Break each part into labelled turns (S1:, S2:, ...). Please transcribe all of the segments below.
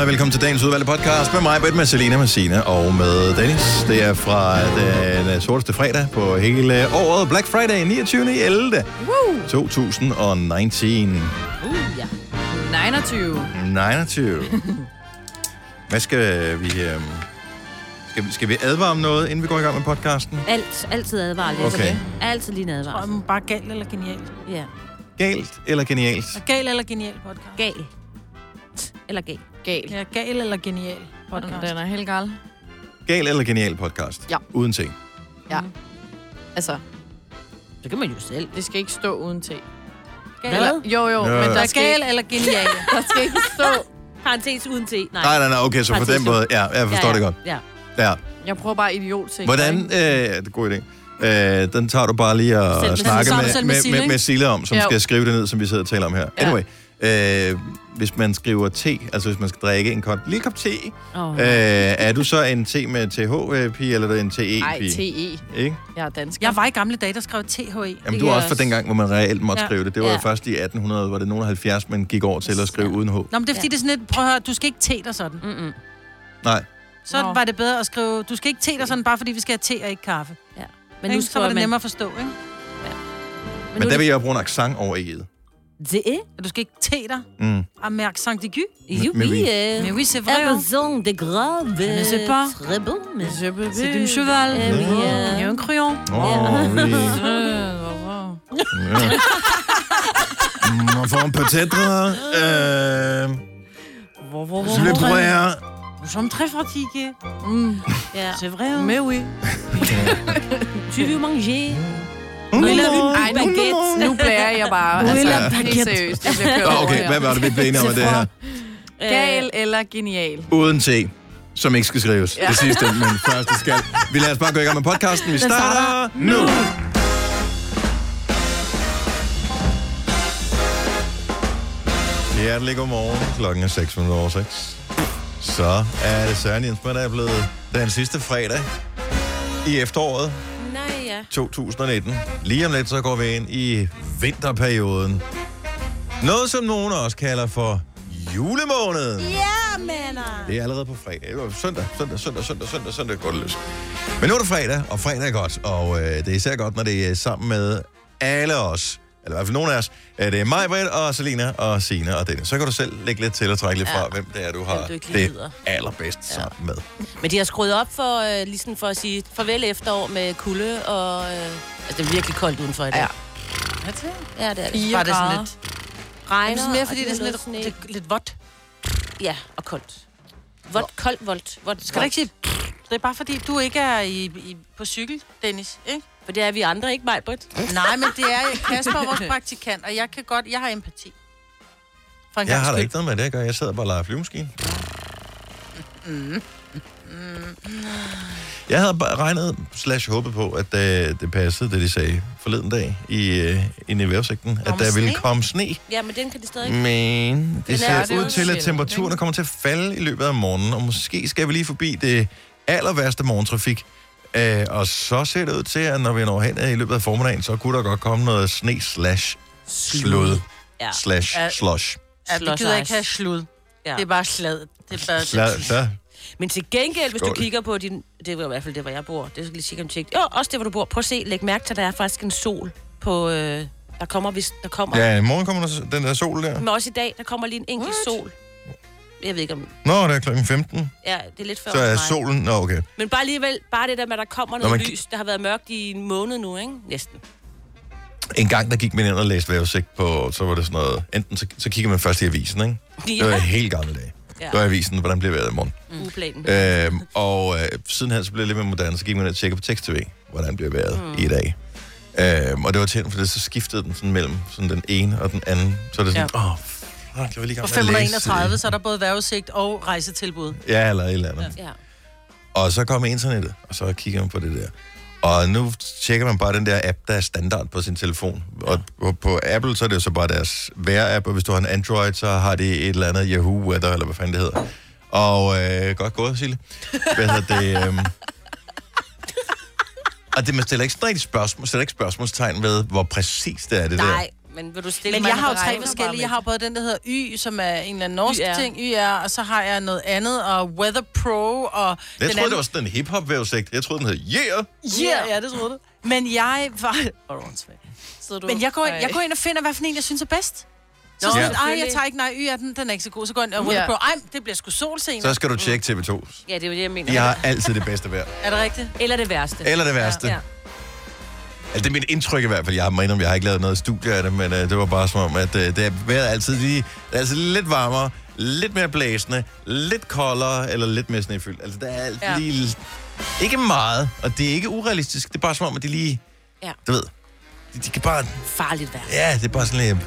S1: og velkommen til dagens udvalgte podcast med mig, Britt, med Selina, med Sina og med Dennis. Det er fra den øh, sorteste fredag på hele året, Black Friday 29. 11.
S2: Woo!
S1: 2019.
S2: Uh, ja. 29.
S1: 29. Hvad skal vi... Øh... Skal, vi- skal vi advare om noget, inden vi går i gang med podcasten?
S3: Alt, altid advarsel.
S1: Okay.
S3: Okay. Altid lige en advarsel.
S4: Om bare gal eller genial.
S3: Ja.
S1: Galt eller genialt?
S4: Og gal eller genial podcast.
S3: Gal. Eller gal.
S2: Gal.
S4: Ja, gal eller genial podcast.
S2: Den er helt gal.
S1: Gal eller genial podcast?
S2: Ja.
S1: Uden ting.
S2: Altså,
S3: Det kan man jo selv.
S2: det skal ikke stå uden te.
S4: Gal.
S2: Eller,
S4: Eller,
S2: jo, jo,
S1: Ja.
S2: men der
S4: der
S2: skal,
S4: gal eller genial.
S2: der skal ikke stå...
S3: Parentes uden te. Nej.
S1: Nej, nej, nej, okay, så på den
S3: Partisk.
S1: måde. Ja, jeg forstår
S3: ja, ja.
S1: det godt.
S3: Ja.
S1: Ja.
S2: Jeg prøver bare idiot til.
S1: Hvordan, øh, ja, det er en god idé. Øh, den tager du bare lige at
S3: Selv med-
S1: snakke
S4: sammen-
S1: med,
S4: selv med
S1: med,
S4: Sille,
S1: med,
S4: ikke?
S1: med Sille om, som
S2: Jo.
S1: skal skrive det ned, som vi sidder og taler om her.
S2: Ja.
S1: Anyway, øh, hvis man skriver te, altså hvis man skal drikke en kop, lille kop te,
S4: Mm.
S1: øh,
S3: Oh.
S1: er du så en te med TH-pige, eller er du en
S2: Ej,
S1: TE-pige?
S2: TE.
S1: Ikke?
S2: Jeg er dansker.
S4: Jeg var i gamle dage, der skrev E. THE.
S1: Jamen,
S3: Det gør
S1: du er også fra
S3: jeg også.
S1: dengang, hvor man reelt måtte ja.
S4: Ja.
S1: skrive det. Det var ja.
S3: Ja.
S1: jo først i 1800, hvor det er nogen af 70, man gik over til at skrive uden H.
S4: Nå, men det er fordi, det er sådan lidt, prøv at høre, du skal ikke te dig sådan.
S3: Mm-mm.
S1: Nej.
S4: Så
S2: Nå.
S4: var det bedre at skrive, du skal ikke te dig sådan, bare fordi vi skal have te og ikke kaffe.
S3: Men nu
S4: så var
S3: skriver
S4: det
S3: man...
S4: nemmere at forstå, ikke?
S3: Men,
S1: Men
S3: nu
S1: der
S3: er
S1: vil jeg bruge en accent over E'et.
S3: det...
S2: E?
S3: Det?
S4: At du skal ikke te dig. Ah,
S1: Mm.
S4: Og mærke Sankt Digy.
S3: Jo,
S1: men
S3: vi...
S1: vi-
S3: øh,
S4: Men oui, c'est vrai. hein?
S3: Amazon de grave.
S4: ne sais pas.
S3: Très bon. mais-
S4: C'est du cheval.
S3: Eh oui,
S4: Il y a
S3: euh,
S4: un crayon.
S1: Åh, oh, vi... Ja. Man får en peut-être... Øh, je le prends.
S4: Nous sommes très fatigués.
S3: Ja.
S4: C'est vrai.
S2: Men Mm. oui.
S3: Tu veux manger?
S1: Mm.
S2: Ej, nu, nu blærer jeg bare.
S4: Eller
S2: Altså, helt
S4: baguette.
S2: seriøst. Det bliver kørt
S1: Nå,
S2: over
S1: okay,
S2: her.
S1: hvad var det, vi blev enige om med det her?
S2: Gal eller genial?
S1: Uden T, som ikke skal skrives. Ja. Det sidste, men første skal. Vi lader os bare gå i gang med podcasten. Vi starter nu. Hjertelig godmorgen. Klokken er 6 minutter over 6. Så er det Søren Jens, der er blevet den sidste fredag i efteråret
S3: Nej, ja.
S1: 2019. Lige om lidt, så går vi ind i vinterperioden. Noget, som nogen også kalder for julemåneden.
S3: Ja, mener.
S1: Øh. Det er allerede på fredag. Eller søndag, søndag, søndag, søndag, søndag, søndag går det løs. Men nu er det fredag, og fredag er godt. Og øh, det er især godt, når det er sammen med alle os. Eller i hvert fald nogen af os. Øh, Det er mig, Britt, og Selina, og Sina og Dennis. Så kan du selv lægge lidt til og trække lidt fra, hvem det er, du har
S3: Hvem du ikke lige gider.
S1: det allerbedst sammen med.
S3: Men de har skruet op for, øh, ligesom for at sige farvel efterår med kulde, og øh, altså, det er virkelig koldt udenfor i dag.
S2: Ja.
S3: Ja, det er det.
S2: Fire
S4: Var det sådan
S2: grader.
S4: lidt...
S3: Regner,
S4: Det er mere, fordi
S3: og
S4: det er sådan
S3: noget
S4: lidt, lidt, lidt vådt.
S3: sne. Ja, og koldt. Vådt, koldt, voldt. Vådt,
S4: Skal du ikke sige... Det er bare fordi, du ikke er i, i, på cykel, Dennis, ikke?
S3: For det er vi andre, ikke mig, Britt?
S4: Nej, men det er Kasper, vores praktikant, og jeg kan godt... Jeg har empati. For en
S1: Jeg
S4: gangs
S1: har da
S4: skyld.
S1: ikke noget med det at gøre. Jeg sidder bare og leger flyvemaskine. Jeg havde bare regnet slash håbet på, at øh, det passede, det de sagde forleden dag i, øh, inde i vejrudsigten, at
S4: Om
S1: der ville
S4: sne?
S1: komme sne.
S3: Ja, men den kan det stadig ikke.
S1: Men det
S2: Den er-
S1: ser
S2: det er
S1: ud
S2: jo
S1: til, at
S2: sjældent,
S1: temperaturen
S2: ikke?
S1: kommer til at falde i løbet af morgenen, og måske skal vi lige forbi det aller værste morgentrafik. Øh, og så ser det ud til, at når vi når hen øh, i løbet af formiddagen, så kunne der godt komme noget sne slash slud
S3: Ja.
S1: slash
S4: Ja.
S1: slush.
S4: Ja, vi
S3: Slås
S4: gider
S3: ice.
S4: ikke have slud.
S3: Ja.
S4: Ja. Det er bare slad. Det er bare...
S1: Sla, sla.
S3: Men til gengæld, hvis du
S1: Skål.
S3: kigger på din... Det var i hvert fald det, hvor jeg bor. Det skal lige sikkert tjekke. Jo, også det, hvor du bor. Prøv at se. Læg mærke til, at der er faktisk en sol på... Øh, der kommer, hvis der kommer...
S1: Ja, i morgen kommer der s- den der sol der.
S3: Men også i dag, der kommer lige en enkelt sol. Jeg ved ikke om...
S1: Nå, det er klokken 15,
S3: Ja, det er lidt før
S1: så er
S3: mig.
S1: solen... Nå, okay.
S3: Men bare alligevel, bare det der med, at der kommer
S1: Når
S3: noget
S1: man-
S3: lys. Der har været mørkt i en måned nu, ikke? Næsten.
S1: En gang, der gik man ind og læste vejrudsigt på, så var det sådan noget... Enten så, så kigger man først i avisen, ikke? Det var
S3: Ja,
S1: helt gamle dage.
S3: Ja. Mhm.
S1: Det var avisen, hvordan bliver vejret i morgen.
S3: uplanen.
S1: øhm, og Mm. øh, sidenhen så blev det lidt mere moderne, så gik man ind og tjekkede på tekst-tv, hvordan bliver vejret
S3: Mhm.
S1: mm. i dag. Øhm, og det var tændt, for det, så skiftede den sådan mellem sådan den ene og den anden. Så er det sådan, åh, ja. oh, fuck, jeg var lige i
S4: På
S1: gang med at læse.
S4: 531, så er der både vejrudsigt og rejsetilbud.
S1: Ja, eller et eller andet.
S3: Ja.
S1: Og så kommer internettet, og så kigger man på det der. Og nu tjekker man bare den der app, der er standard på sin telefon. Og på, på Apple, så er det jo så bare deres vejr-app, og hvis du har en Android, så har de et eller andet Yahoo Weather, eller hvad fanden det hedder. Og øh, godt gået, Sille. Hvad hedder det? Øh... Og det, man stiller ikke, sådan rigtig spørgsmål, stiller ikke spørgsmålstegn ved, hvor præcis det er, det der.
S3: Nej, Men vil du stille
S4: Men
S3: mig
S4: jeg
S3: en
S4: har jo
S3: beregner
S4: tre
S3: bare
S4: forskellige. Jeg
S3: med?
S4: har både den, der hedder Y, som er en eller anden norsk
S3: YR.
S4: ting, YR, og så har jeg noget andet, og Weather Pro, og...
S1: Jeg troede,
S4: anden...
S1: det var sådan en hiphop-vævsigt. Jeg troede, den hed Yeah!
S4: Yeah, ja, det troede du. Men jeg var...
S3: Sidder du-
S4: Men jeg går, ind, jeg
S3: Ej.
S4: går ind og finder, hvad for en, jeg synes er bedst. Så
S3: Nå,
S4: Nå,
S1: Ja.
S4: ja. Ej, jeg
S3: selvfølgelig.
S4: tager ikke, nej, Y er den, den er ikke så god. Så går jeg ind og Weather
S2: Ja.
S4: Pro. Ej, det bliver sgu solscener.
S1: Så skal du tjekke TV2.
S3: Mm. Ja, det er jo det, jeg mener.
S1: De har altid det bedste vejr.
S4: Er det rigtigt?
S3: Eller det værste.
S1: Eller det værste.
S3: Ja.
S1: Altså, det er mit indtryk i hvert fald. Jeg må indrømme, jeg har ikke lavet noget studie af det, men øh, det var bare som om, at øh, det er vejret altid lige, det er altid lidt varmere, lidt mere blæsende, lidt koldere eller lidt mere snefyldt. Altså, der er ja.
S4: Ja.
S1: lige... Ikke meget, og det er ikke urealistisk. Det er bare som om, at de lige...
S3: Ja.
S1: Du ved, de, de kan bare...
S3: Farligt værd.
S1: Ja, det er bare sådan lidt...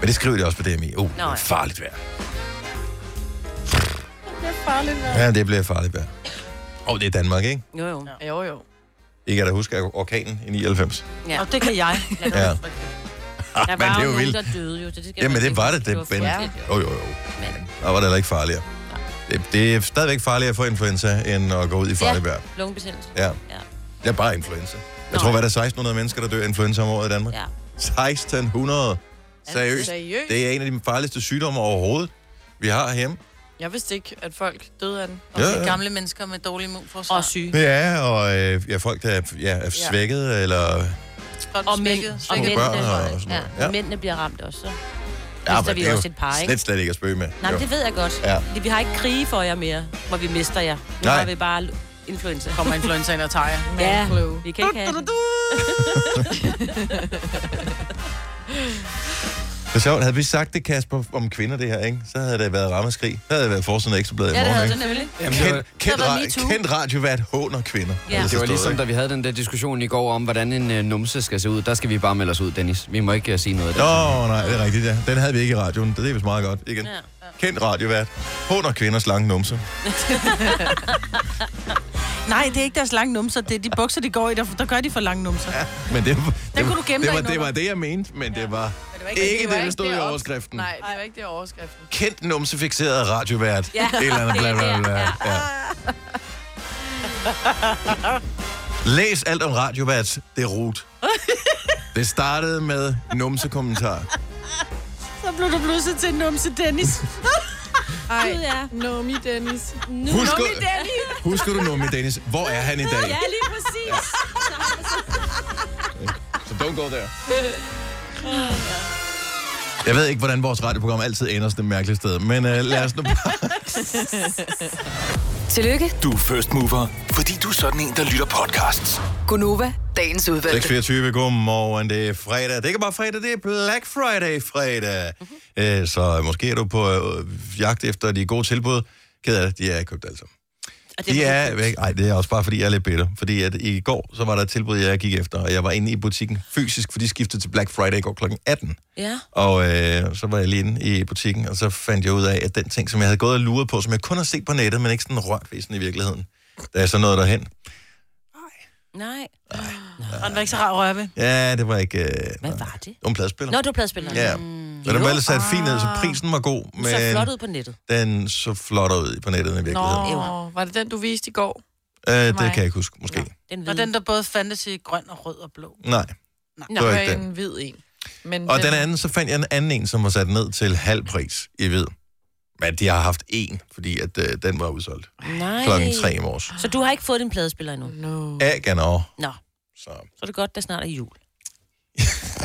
S1: Men det skriver de også på DMI. Oh, det
S3: ja.
S1: er farligt vejr. Det bliver farligt vejr. Ja, det bliver farligt vejr. Og det er Danmark, ikke?
S3: Jo, jo.
S2: Jo, jo.
S1: I kan da huske orkanen i 99.
S3: Ja.
S4: Og det kan jeg.
S1: Ja. Ah,
S3: Der
S1: men
S3: var
S1: det er
S3: jo
S1: jo
S3: nogen,
S1: vildt.
S3: der døde jo. Det, det skal
S1: Jamen,
S3: man
S1: det
S3: ikke
S1: var
S3: huske.
S1: det, det
S3: var
S1: Ben.
S3: forfærdeligt, jo.
S1: Jo, jo, jo. Der var det heller ikke farligere. Det, det er stadigvæk farligere at få influenza, end at gå ud i farligt
S3: Ja.
S1: vejr.
S3: Lungebetændelse.
S1: Ja.
S3: Ja.
S1: Det er bare influenza. Jeg
S3: Nå.
S1: tror, hvad er der 1600 mennesker, der dør af influenza om året i Danmark?
S3: Ja.
S1: 1600. Seriøst.
S2: Seriøst?
S1: Det er en af de farligste sygdomme overhovedet, vi har hjemme.
S2: Jeg vidste ikke, at folk døde af den.
S4: Og
S1: Ja,
S4: det er
S1: ja.
S4: gamle mennesker med dårlig immunforsvar.
S3: Og syge.
S1: Ja, og øh, ja, folk, der er, ja, er svækket, eller...
S3: Og mænd. Og
S4: mænd.
S1: mænd.
S3: mændene,
S1: børn og sådan noget.
S3: ja.
S1: Ja.
S3: mændene bliver ramt også. Så.
S1: Ja,
S3: Mister vi
S1: det er
S3: også et par, ikke?
S1: slet, slet ikke at spøge med.
S3: Nej,
S1: Jo.
S3: men det ved jeg godt.
S1: Ja.
S3: Ja. Vi har ikke krige for jer mere, hvor vi mister jer. Nu
S1: Nej.
S3: har vi bare influenza. Kom.
S4: Kommer influenzaen og tager jer.
S3: Ja,
S2: Flu.
S3: vi kan ikke have det.
S1: Det er sjovt. Havde vi sagt det, Kasper, om kvinder det her, ikke? Så havde det været rammeskrig. Så havde det været forsiden af Ekstrabladet i
S3: Ja, det
S1: morgen,
S3: havde
S1: ikke?
S3: det nemlig.
S5: Jamen, det, var,
S1: Kendt, kendt,
S4: var
S1: ra-
S4: MeToo.
S1: kendt radiovært håner kvinder.
S3: Ja.
S1: Altså,
S5: det var
S1: stod
S5: ligesom,
S1: ikke?
S5: da vi havde den der diskussion i går om, hvordan en øh, numse skal se ud. Der skal vi bare melde os ud, Dennis. Vi må ikke øh, sige noget af det.
S1: Nå, nej, det er rigtigt, ja. Den havde vi ikke i radioen. Det er vist meget godt. Igen.
S3: Ja.
S1: Kendt radiovært. Håner kvinders lange numse.
S4: Nej, det er ikke deres lange numser. Det er de bukser, de går i, der, der gør de for lange numser. Ja.
S1: Men det, det,
S4: kunne du gemme dig
S1: det, var, det
S4: indenunder.
S1: var det, jeg mente, men det var
S4: var ikke-
S1: ikke
S2: det var
S1: det, der
S2: ikke
S1: stod
S2: det
S1: i
S2: op-
S1: overskriften.
S2: Nej, det var ikke det overskriften.
S1: Kendt numsefixeret radiovært.
S3: Ja.
S1: Et eller andet bla bla bla. Ja. Læs alt om radiovært. Det er rot. Det startede med numsekommentar.
S4: Så blev du pludselig til numse Dennis.
S2: Ej,
S3: Gud, ja.
S2: Nomi Dennis.
S1: Husker, husker du Nomi Dennis? Hvor er han i dag?
S3: Ja, lige præcis.
S1: Så don't go there. Jeg ved ikke, hvordan vores radioprogram altid ender sådan et mærkeligt sted, men uh, lad os nu bare...
S6: Tillykke,
S7: Du er first mover, fordi du er sådan en, der lytter podcasts.
S6: Gunova, dagens udvalgte.
S1: 6.24, godmorgen, det er fredag. Det er ikke bare fredag, det er Black Friday fredag.
S3: Mhm.
S1: Mm-hmm. Uh, så måske er du på uh, jagt efter de gode tilbud. Ked af det, de er købt alle sammen.
S3: Og det
S1: De
S3: er
S1: er væk. Ej, det er også bare, fordi jeg er lidt bitter. Fordi at i går, så var der et tilbud, jeg gik efter, og jeg var inde i butikken fysisk, for de skiftede til Black Friday i går kl. 18.
S3: Ja.
S1: Og øh, så var jeg lige inde i butikken, og så fandt jeg ud af, at den ting, som jeg havde gået og luret på, som jeg kun har set på nettet, men ikke sådan rørt ved sådan i virkeligheden, da jeg så nåede derhen.
S3: Nej.
S4: Og den var ikke så rar at røre ved.
S1: Ja, det var ikke... Øh,
S3: Hvad var det?
S1: En pladespiller.
S3: Nå, du er pladespilleren.
S1: Ja. Men den var ellers sat fint ned, så prisen var god,
S3: Du så flot
S1: men
S3: ud på nettet.
S1: den så flot ud på nettet i virkeligheden.
S2: Nå, var det den, du viste i går?
S1: Øh, det
S2: mig.
S1: kan jeg ikke huske, måske.
S3: Den
S4: Og
S3: hvide.
S4: den, der både fandtes i grøn og rød og blå.
S1: Nej.
S2: Nå,
S1: var
S2: det var
S1: ikke den.
S2: en hvid en. Men
S1: Og den anden, så fandt jeg en anden en, som var sat ned til halv pris i ved. Men de har haft en, fordi at, øh, den var udsolgt
S3: Nej.
S1: klokken 3 i morges.
S3: Så du har ikke fået din pladespiller endnu?
S2: No.
S1: Ja, genau.
S3: Nå,
S1: Så,
S3: så er det godt, der snart er jul.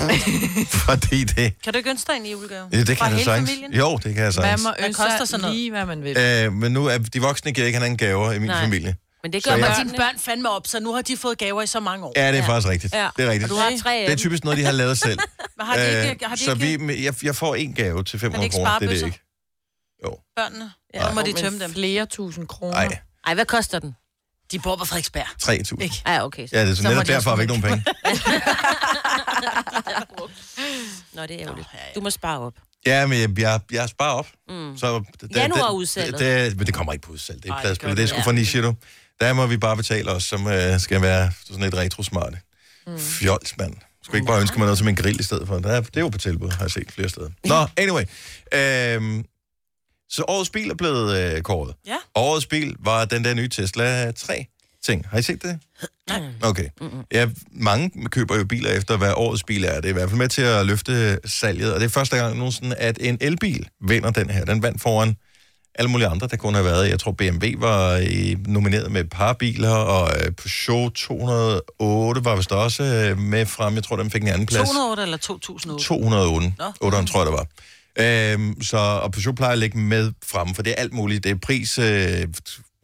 S1: fordi det...
S4: Kan du ikke ønske dig en i julegave?
S1: Ja, det
S4: Fra
S1: kan jeg
S4: hele
S1: sagtens.
S4: familien?
S1: Jo, det kan jeg
S2: Man
S1: sagtens.
S2: må
S4: Hvad
S2: ønske
S4: koster
S2: sig
S4: sådan noget?
S2: lige, hvad man vil.
S1: Øh, men nu er de voksne giver ikke hinanden gaver i min
S3: Nej.
S1: familie.
S3: Men det
S1: Så
S3: gør
S1: jeg-
S3: man
S4: Og
S1: Ja.
S4: dine børn fandme op, så nu har de fået gaver i så mange år.
S1: Ja, det er ja.
S3: Ja.
S1: faktisk rigtigt. Ja.
S3: Ja.
S1: Det er rigtigt.
S3: Og du har tre af
S1: det er
S3: dem.
S1: typisk noget, de har lavet selv.
S4: Men
S1: Øh,
S4: har de ikke, har de
S1: så
S4: ikke
S1: vi, jeg, jeg får en gave til
S4: Har de
S1: 500
S4: ikke
S1: kroner. Det er det
S4: sparebøsser?
S1: ikke.
S4: børnene? Ja, så må de tømme dem.
S2: Flere tusind kroner.
S1: Nej,
S3: Ej, hvad koster den?
S4: De bor på Frederiksberg.
S1: 3.000.
S4: Ikke.
S3: Ej, Ah, okay. Så.
S1: Ja, det er så,
S4: Så må
S1: netop
S4: de
S1: derfor har vi ikke
S4: også
S1: nogen penge.
S3: Nå, det er ærgerligt. Du må spare op.
S1: Ja, men jeg, jeg, jeg sparer op. Mm. Så det,
S3: Januarudsalget.
S1: Det, det, men det kommer ikke på udsalg. Det er
S4: Ej,
S1: pladsspil.
S4: det gør
S1: Det er sgu
S3: det.
S1: for niche, du. Der må vi bare betale os, som øh, skal være sådan lidt retrosmarte. Mm. Fjols, mand. Skulle ikke bare ønske mig noget som en grill i stedet for. Der er, det er jo på tilbud, har jeg set flere steder. Nå, anyway. Øhm, så årets bil er blevet øh, kåret.
S4: Ja.
S1: Årets bil var den der nye Tesla 3. ting. Har I set det? Okay. Ja, mange køber jo biler efter, hvad årets bil er. Det er i hvert fald med til at løfte salget, og det er første gang nogensinde, at en elbil vinder den her. Den vandt foran alle mulige andre, der kunne have været. Jeg tror, BMW var i- nomineret med et par biler, og øh, Peugeot 208 var vist også øh, med frem. Jeg tror, den fik en anden plads.
S4: 208 eller 2008?
S1: 208.
S4: Nå.
S1: 800, tror jeg, det var. Øhm, så, og Peugeot plejer at ligge med fremme, for det er alt muligt. Det er pris, øh,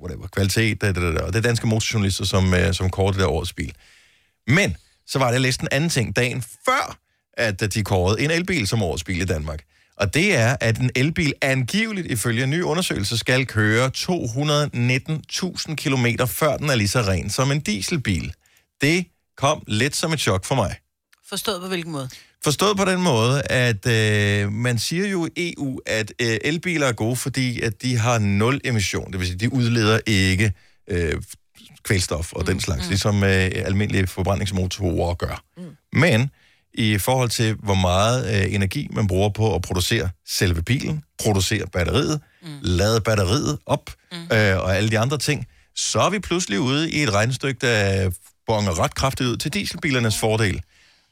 S1: whatever, kvalitet, da, da, da, da. og det er danske motorjournalister, som, øh, som kårer det der årets bil. Men så var det læst en anden ting dagen før, at de kårede en elbil som årets bil i Danmark. Og det er, at en elbil angiveligt, ifølge en ny undersøgelse, skal køre 219.000 km, før den er lige så ren som en dieselbil. Det kom lidt som et chok for mig.
S4: Forstået på hvilken måde?
S1: Forstået på den måde, at øh, man siger jo i EU, at øh, elbiler er gode, fordi at de har nul emission. Det vil sige, de udleder ikke øh, kvælstof og mm, den slags, mm. ligesom øh, almindelige forbrændingsmotorer gør. Mm. Men i forhold til, hvor meget øh, energi man bruger på at producere selve bilen, producere batteriet, mm. lade batteriet op mm. øh, og alle de andre ting, så er vi pludselig ude i et regnestykke, der bonger ret kraftigt ud til dieselbilernes fordel.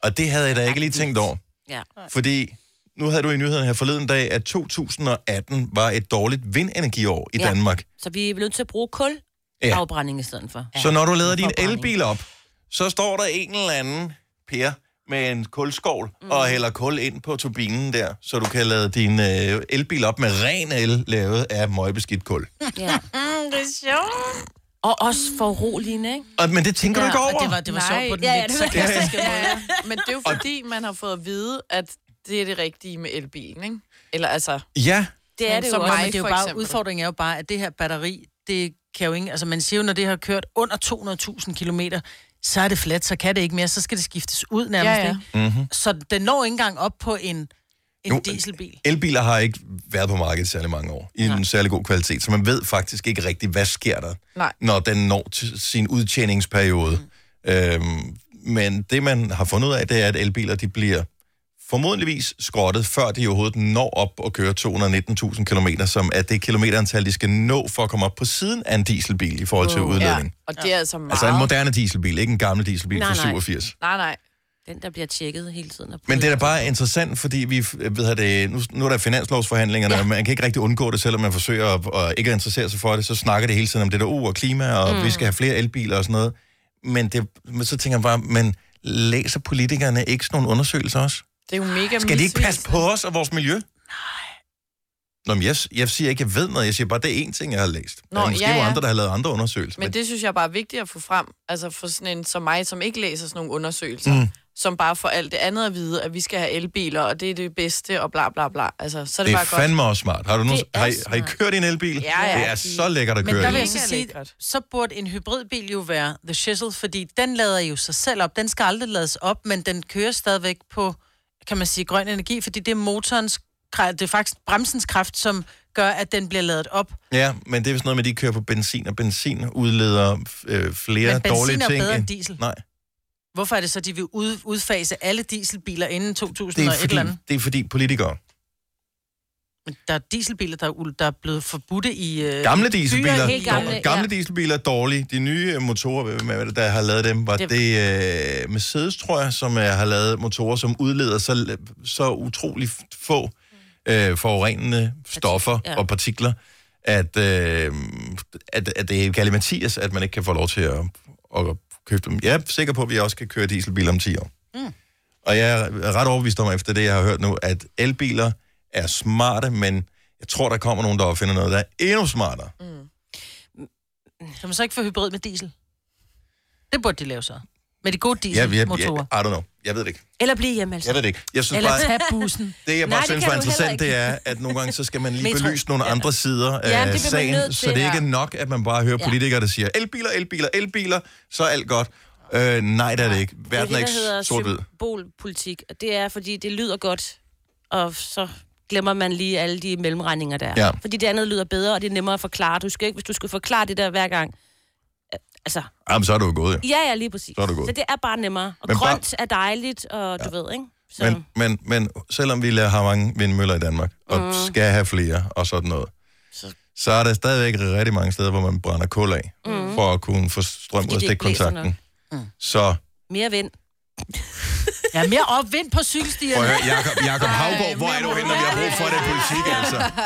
S1: Og det havde jeg da ikke lige tænkt over.
S3: Ja.
S1: Fordi nu havde du i nyhederne her forleden dag, at 2018 var et dårligt vindenergiår i
S3: Ja.
S1: Danmark.
S3: Så vi er nødt til at bruge kul
S1: Ja.
S3: afbrænding i stedet for.
S1: Så når du lader din
S3: Forbrænding.
S1: elbil op, så står der en eller anden Per med en kulskovl mm. og hælder kul ind på turbinen der, så du kan lade din øh, elbil op med ren el lavet af møgbeskidt kul.
S3: Ja.
S4: Mm, det er sjovt.
S3: Og også foruroligende, ikke?
S1: Og, men det tænker ja, du ikke
S4: Og
S1: over.
S4: det var, det var
S2: Nej,
S4: sjovt på den
S3: ja,
S4: ja,
S3: ja,
S4: lidt
S3: det var-
S4: sarkastiske måde.
S2: Ja, men det er jo fordi, man har fået at vide, at det er det rigtige med elbilen, ikke? Eller altså,
S1: Ja,
S3: Det er
S2: Men
S3: det
S2: så
S3: jo
S4: Nej,
S3: også.
S2: mig-
S4: men det er jo
S2: for
S4: bare,
S2: eksempel.
S4: udfordringen er jo bare, at det her batteri, det kan jo ikke, altså man siger jo, når det har kørt under 200.000 kilometer, så er det fladt, så kan det ikke mere, så skal det skiftes ud nærmest,
S2: Ja,
S4: ja,
S2: ja.
S4: ja. ikke? Mm-hmm. Så den når ikke engang op på en, en
S1: mhm. Nu-
S4: nu, dieselbil.
S1: elbiler har ikke været på markedet i særlig mange år, i en særlig god kvalitet, så man ved faktisk ikke rigtigt, hvad sker der,
S2: Nej.
S1: når den når til sin udtjeningsperiode. Mm. Øhm, men det, man har fundet ud af, det er, at elbiler de bliver formodentligvis skrottet, før de overhovedet når op og kører 219.000 km, som er det kilometerantal, de skal nå for at komme op på siden af en dieselbil i forhold til udledning. Ja.
S2: og det er altså meget...
S1: Altså en moderne dieselbil, ikke en gammel dieselbil
S3: Nej,
S1: fra
S3: nej.
S1: 87.
S2: Nej, nej.
S3: Den, der bliver tjekket hele tiden. og
S1: Men det er da bare interessant, fordi vi, øh, ved jeg det, nu, nu er der finanslovsforhandlingerne, ja. og man kan ikke rigtig undgå det, selvom man forsøger at, at ikke at interessere sig for det, så snakker det hele tiden om det der u og klima, og mm. vi skal have flere elbiler og sådan noget. Men, det, men så tænker jeg bare, men læser politikerne ikke sådan nogle undersøgelser også?
S2: Det er jo mega
S1: Skal de ikke passe
S2: misvisende.
S1: på os og vores miljø? Nej. Nå, men jeg, jeg siger ikke, jeg ved noget. Jeg siger bare, det er én ting, jeg har læst. Nå,
S2: Nå,
S1: der er måske
S2: ja,
S1: ja,
S2: ja.
S1: andre, der har lavet andre undersøgelser.
S2: Men det synes jeg bare er vigtigt at få frem, altså for sådan en som mig, som ikke læser sådan nogle undersøgelser, mm. som bare får alt det andet at vide, at vi skal have elbiler, og det er det bedste, og bla bla bla. Altså, så er det,
S1: det er
S2: bare godt.
S1: fandme også smart. Har, du nu,
S3: Det er
S1: har, I, har I
S3: smart.
S1: kørt i en elbil?
S2: Ja, ja.
S1: Det er så lækkert at
S4: Men
S1: køre
S4: der
S1: i.
S4: vil jeg så
S2: Mega
S4: sige,
S2: lækkert.
S4: så burde en hybridbil jo være the shizzle, fordi den lader jo sig selv op. Den skal aldrig lades op, men den kører stadigvæk på, kan man sige, grøn energi, fordi det er motorens, kra- det er faktisk bremsens kraft, som gør, at den bliver ladet op.
S1: Ja, men det er vist noget med, at de kører på benzin, og benzin udleder øh, flere
S4: Men benzin
S1: dårlige
S4: er
S1: ting.
S4: bedre
S1: end-
S4: end diesel.
S1: Nej,
S4: Hvorfor er det så, at de vil ud, udfase alle dieselbiler inden
S1: det
S4: 2000
S1: er,
S4: og et
S1: fordi,
S4: eller andet?
S1: det er fordi politikere.
S4: Men der er dieselbiler, der er, ul- der er blevet forbudte i... Øh,
S1: Gamle dieselbiler,
S3: helt gamle,
S1: gamle, gamle dieselbiler er dårlige. De nye øh, motorer, hvem er det, der har lavet dem, var det,
S3: Det-
S1: det øh, Mercedes, tror jeg, som øh, har lavet motorer, som udleder så, så utrolig få øh, forurenende stoffer
S3: ja.
S1: og partikler, at, øh, at, at det er Galle Mathias, at man ikke kan få lov til at, at købe dem. Jeg er sikker på, at vi også kan køre dieselbiler om 10 år.
S4: Mm.
S1: Og jeg er ret overbevist om, efter det, jeg har hørt nu, at elbiler er smarte, men jeg tror, der kommer nogen, der opfinder noget, der er endnu smartere.
S4: kan man så ikke få hybrid med diesel? Det burde de lave så. Med de gode
S1: Jeg, jeg, jeg,
S4: dieselmotorer.
S1: I don't know. Jeg ved det ikke.
S3: Eller blive hjemme, altså.
S1: ah. Jeg ved det ikke. Jeg synes
S4: Eller
S1: bare,
S4: tage bussen.
S1: det jeg
S3: Nej,
S1: bare
S3: det
S1: synes
S3: kan
S1: var
S3: du
S1: interessant, det
S3: heller
S1: er, at nogle gange, så skal man lige
S3: Metro.
S1: belyse nogle andre sider
S3: Ja,
S1: af
S3: det bliver man nødt
S1: sagen,
S3: til,
S1: så det er
S3: ja.
S1: ikke nok, at man bare hører
S3: Ja.
S1: politikere, der siger, elbiler, elbiler, elbiler, så er alt godt. Øh, nej, det er det ikke. Verden er
S3: det,
S1: ikke
S3: der hedder
S1: sort-hvid.
S3: symbolpolitik, og det er, fordi det lyder godt, og så glemmer man lige alle de mellemregninger, der er.
S1: Ja.
S3: Fordi det andet lyder bedre, og det er nemmere at forklare. Du skal ikke, hvis du skal forklare det der hver gang. øh, Altså,
S1: Jamen, så er du jo gået, jo.
S3: ja, ja, lige præcis.
S1: Så er det godt.
S3: så det er bare nemmere. Og
S1: Men
S3: Men
S1: bare-
S3: grønt er dejligt, og du ved, ikke? Så,
S1: Men, men, men selvom vi la- har mange vindmøller i Danmark, og mm. skal have flere og sådan noget, så, så er der stadigvæk rigtig mange steder, hvor man brænder kul af, mm. for at kunne få strøm
S3: Fordi
S1: ud af
S3: det ikke blæser
S1: stikkontakten. Mm. Så
S3: Mere vind.
S4: Ja, mere opvind på
S3: Mm.
S4: cykelstierne.
S1: prøv at høre, Jacob, Jacob Havgaard, hvor er du henne, når vi har brug for det i politik, altså?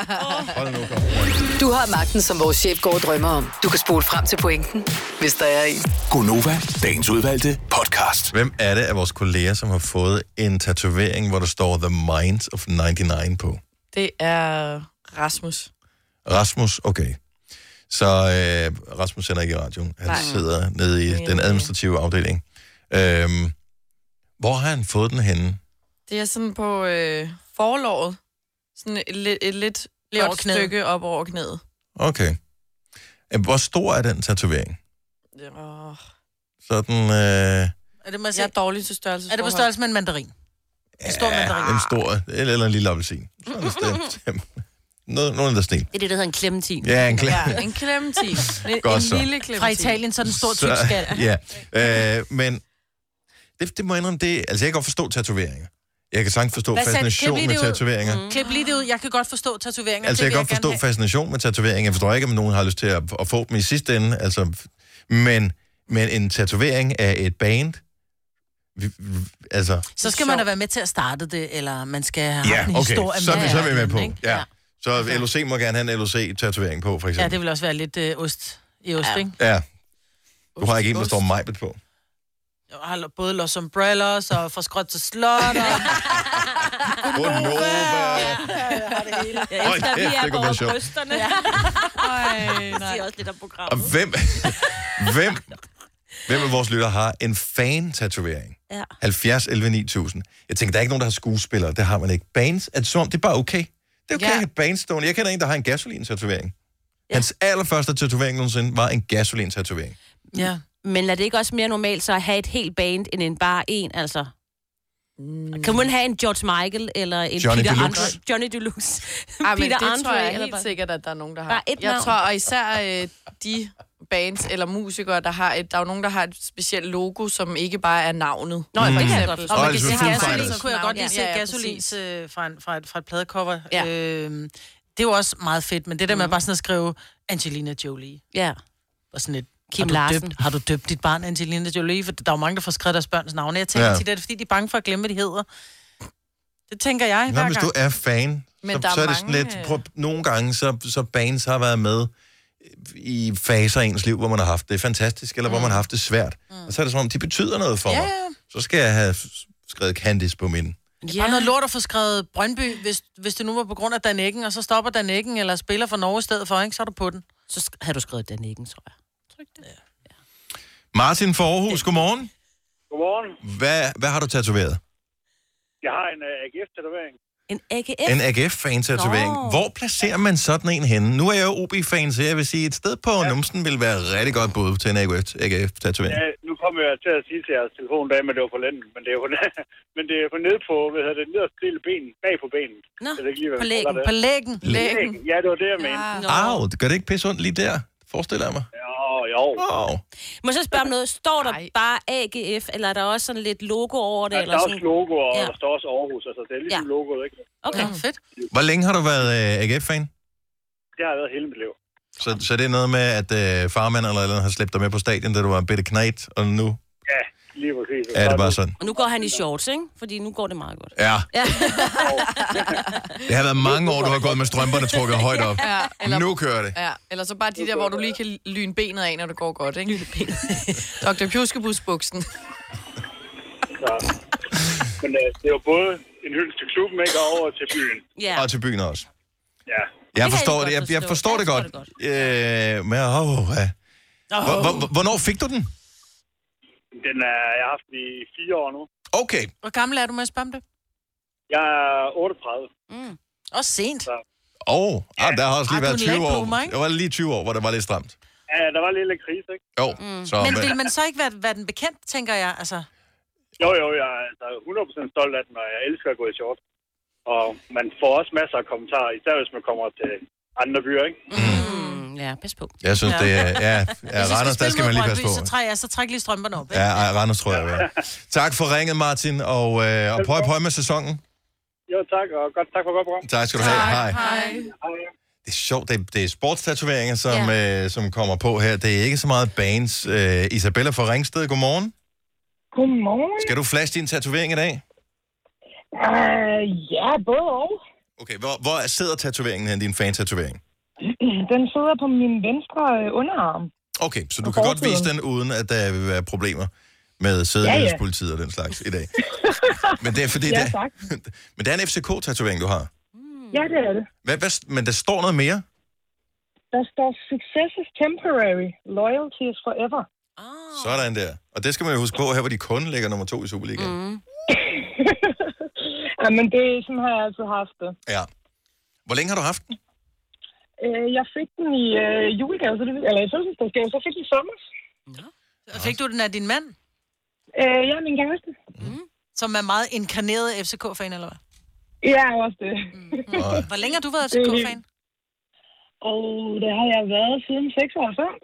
S1: Hold nu, kom.
S6: Du har magten, som vores chef går og drømmer om. Du kan spole frem til pointen, hvis der er en.
S7: Gonova, dagens udvalgte podcast.
S1: Hvem er det af vores kolleger, som har fået en tatovering, hvor der står The Minds of 99 på?
S2: Det er Rasmus.
S1: Rasmus, okay. Så øh, Rasmus sender ikke i radioen. Han Nej.
S2: Nej.
S1: sidder nede i
S2: Det er
S1: den
S2: det.
S1: administrative afdeling. Øhm, hvor har han fået den henne?
S2: Det er sådan på øh, forlovet. Sådan et, lidt- et lidt
S4: Lige over
S2: godt
S4: knæet.
S2: stykke op over knæet.
S1: Okay. Øh, Hvor stor er den tatovering?
S2: Oh,
S1: Sådan øh,
S4: Er det, må jeg
S2: jeg
S4: sige?
S2: er dårlig til størrelse.
S4: er det på størrelse med en mandarin? En stor mandarin.
S1: en stor, eller, eller en lille appelsin. Sådan et sted. Noget, nogen der stil.
S3: Det er det, der hedder en klemmetin.
S1: Ja, en klar.
S2: Ja, en clementin. En,
S1: Godt
S2: en
S1: så.
S2: lille clementin.
S4: Fra Italien, så er den stor tyk skal.
S1: ja. Øh, men det, det må jeg indrømme, det, altså jeg kan godt forstå tatoveringer. Jeg kan sagtens forstå
S4: Hvad sagde-
S1: fascination
S4: klip
S1: med
S4: lige det ud.
S1: tatoveringer. Mm.
S4: Klip lige det ud. Jeg kan godt forstå tatoveringer.
S1: Altså,
S4: det
S1: jeg kan
S4: vil
S1: godt forstå
S4: gerne have.
S1: fascination med tatoveringer. Jeg forstår ikke, om nogen har lyst til at, at få dem i sidste ende. Altså, men, men en tatovering af et band... Vi, vi- altså,
S4: Så skal man da være med til at starte det, eller man skal have
S1: ja,
S4: en
S1: okay,
S4: historie
S1: så, er vi-
S4: med.
S1: så er vi med
S4: eller
S1: på.
S4: andet, ikke? Altså-
S1: Ja. Så LOC må gerne have en LOC-tatovering på, for
S4: ja,
S1: eksempel.
S4: det vil også være lidt øh, ost i ost, ja. ikke?
S1: Ja. Du har ikke en, der står Majbet på.
S4: Jeg har både Los Umbrellas og fra skråt til slot. Og...
S1: Gunova!
S3: Jeg
S1: Hold
S3: elsker, at vi
S1: kæft,
S3: er
S1: det kunne
S3: på
S1: være sjovt.
S3: brysterne. Ja. Det siger også lidt om
S1: Og
S3: programmet.
S1: hvem, hvem, hvem af vores lytter har en fan-tatovering?
S3: Ja.
S1: 70 11 9000. Jeg tænker, der er ikke nogen, der har skuespillere. Det har man ikke. Bands, er det som om, det er bare okay. Det er okay
S2: Ja.
S1: ja. at have bands stående. Jeg kender en, der har en gasolin-tatovering. Ja. Hans allerførste tatovering nogensinde var en gasolin-tatovering.
S4: Ja.
S3: Men er det ikke også mere normalt så at have et helt band, end en bare en, altså?
S2: Mm.
S3: Kan man have en George Michael, eller en
S1: Johnny
S3: Peter
S1: Deluxe.
S3: Andre? Johnny Deluxe.
S2: Ej, men
S3: Peter
S2: det tror
S3: Andre,
S2: jeg
S3: eller
S2: helt
S3: bare-
S2: sikkert, at der er nogen, der har.
S3: Bare et
S2: jeg
S3: navn.
S2: tror, og især øh, de bands eller musikere, der har et, der er jo nogen, der har et specielt logo, som ikke bare er navnet. Nå,
S3: det kan jeg godt forstå.
S1: Og
S4: Og man
S1: det
S4: kan
S1: er
S4: se
S1: Foo
S4: gasolin,
S1: Fighters.
S4: så kunne jeg godt lige se
S2: Mm. Ja, ja,
S4: gasolins øh, fra, en, fra, et, fra et pladecover.
S3: Ja.
S4: Øhm, det er jo også meget fedt, men det der med bare sådan at skrive Angelina Jolie,
S3: Ja.
S4: og sådan lidt,
S3: Kim
S4: har du
S3: Larsen.
S4: Døbt, har du døbt dit barn Angelina Jolie? For der er jo mange, der får skrevet deres børns navne. Jeg tænker
S1: Ja.
S4: ja. tit, at det er, fordi de er bange for at glemme, hvad de hedder. Det tænker jeg
S1: Nå,
S4: hver
S1: hvis du
S4: gang.
S1: er fan,
S2: Men
S1: så,
S2: der er
S1: så er det sådan
S2: mange,
S1: lidt...
S2: øh,
S1: Prøv, nogle gange, så, så bands har været med i faser af ens liv, hvor man har haft det fantastisk, eller mm. hvor man har haft det svært. Mm. Og så er det som om, de betyder noget for
S4: Ja,
S1: mig.
S4: ja.
S1: Så skal jeg have skrevet Candice på min.
S4: Ja. Bare noget lort at få skrevet Brøndby, hvis, hvis det nu var på grund af Dan Eggen, og så stopper Dan Eggen, eller spiller for Norge i stedet for, ikke? så er du på den.
S3: Så sk- havde du skrevet den ikke, tror jeg.
S1: Martin fra Aarhus, godmorgen.
S8: Godmorgen.
S1: Hvad, hvad har du tatoveret?
S8: Jeg har en uh, AGF-tatovering.
S3: En AGF?
S1: En AGF-fan-tatovering.
S3: Nå.
S1: Hvor placerer man sådan en henne? Nu er jeg jo OB-fan, så jeg vil sige, et sted på ja. numsen vil være rigtig godt bud til en AGF-tatovering.
S8: Ja, nu kommer jeg til at sige til jeres telefon, da, men det var på lænden. Men det er jo, men det er på nede på, hvad hedder det, nederste del af benet, bag på benet.
S3: Nå,
S8: Jeg ved ikke lige, hvad
S3: på
S8: man
S3: lægen,
S8: kalder
S4: På
S8: det.
S4: lægen.
S2: Lægen.
S8: Ja, det var det, jeg mente.
S2: Ja.
S1: Au, det gør det ikke pisse ondt lige der? Forestiller jeg mig.
S8: Jo, jo.
S1: Au.
S3: Må jeg så spørge om noget? Står der
S2: Nej.
S3: bare AGF, eller er der også sådan lidt logo over det?
S8: Der, der
S3: eller
S8: er
S3: sådan?
S8: også logo, og
S3: Ja.
S8: ja. der står også Aarhus. Altså, det er ligesom
S3: Ja.
S8: ja. logoet, ikke?
S3: Okay.
S4: Ja, fedt.
S1: Hvor længe har du været øh, AGF-fan?
S8: Det har jeg været hele mit liv.
S1: Så, så det er noget med, at øh, farmand eller et eller andet har slæbt dig med på stadion, da du var en bitte knægt, og nu
S8: Ja, lige præcis. Og
S1: er
S8: så
S1: det bare
S8: nu-
S1: sådan.
S3: Og nu går han i shorts, ikke? Fordi nu går det meget godt.
S1: Ja. Det har været mange år, du har gået med strømperne trukket højt op.
S2: Ja, eller,
S1: Nu kører det.
S2: ja, eller så bare de der, hvor du lige kan lyne benet af, når det går godt, ikke? Lyne benet. Dr. Pjuskebusbuksen.
S8: Så. Men uh, det er jo både en hyldest til klubben, ikke, og over til byen.
S3: Ja.
S1: Og til byen også.
S8: Ja.
S1: Jeg
S3: Det kan
S1: forstår
S3: jeg
S1: det.
S3: godt
S1: Jeg, jeg
S3: forstå.
S1: forstår
S3: Jeg
S1: det
S3: forstår
S1: godt. Øh, men, oh, ja. Hvor- hvor- Hvornår fik du den?
S8: Den er, jeg har haft den i fire år nu.
S1: Okay.
S4: Hvor gammel er du med at spørge om det?
S8: Jeg er 38.
S4: Også sent.
S1: Åh, oh, ah, der har også lige
S4: Ah,
S1: været
S4: du er en
S1: 20 år.
S4: late-bloomer, ikke?
S1: Der var lige 20 år, hvor det var lidt stramt.
S8: Ja, der var lidt lidt krise, ikke?
S1: Jo, mm. så...
S4: Men vil man så ikke være, være den bekendt, tænker jeg? Altså,
S8: Jo, jo, jeg er altså 100% stolt af den, og jeg elsker at gå i short. Og man får også masser af kommentarer, især hvis man kommer til andre byer, ikke?
S3: Mm, ja, pas på.
S1: Jeg synes, det er... Ja, ja
S4: hvis I
S1: Randers, der
S4: spille
S1: skal
S4: mod
S1: man lige
S4: Brøndby,
S1: passe på.
S4: Så træk, ja, så træk lige strømperne op. Ikke?
S1: Ja, ej, Randers tror jeg. Ja. Tak for ringet, Martin, og, øh, og pøj, pøj med sæsonen.
S8: Jo, tak, og godt, tak for godt program.
S1: Tak skal du have. Hej.
S2: Hej.
S8: Hej.
S1: Det er sjovt, det er, det er sportstatoveringer, som, ja. øh, som kommer på her. Det er ikke så meget bands. Øh, Isabella fra Ringsted, godmorgen.
S9: Godmorgen.
S1: Skal du flash din tatovering i dag?
S9: Uh, ja, både og.
S1: Okay, hvor, hvor sidder tatoveringen her, din fan-tatovering?
S9: Den sidder på min venstre øh, underarm.
S1: Okay, så du
S9: På
S1: kan godt
S9: forsiden.
S1: vise den, uden at der vil være problemer med sædelighedspolitiet og den slags i dag. Men det er fordi,
S9: Ja,
S1: det, er,
S9: tak.
S1: men det er en FCK-tatovering, du har.
S9: Ja, det er det.
S1: Hvad, hvad, men der står noget mere?
S9: Der står, success is temporary, loyalty is forever.
S1: Sådan der. Og det skal man jo huske på her, hvor de kun ligger nummer to i Superligaen. Mm.
S9: Jamen, det er sådan, har jeg altid haft det.
S1: Ja. Hvor længe har du haft den?
S9: Øh, jeg fik den i øh, julegave, så det, eller i fødselsdagsgave, så fik jeg i sommer.
S4: Og Fik du den af din mand, Mm.
S9: Øh, jeg er min kæreste.
S4: som er meget inkarneret FCK-fan, eller hvad? Mm.
S9: Jeg er også det.
S1: Og,
S4: Hvor længe har du været FCK-fan?
S9: Og det har jeg været siden 96.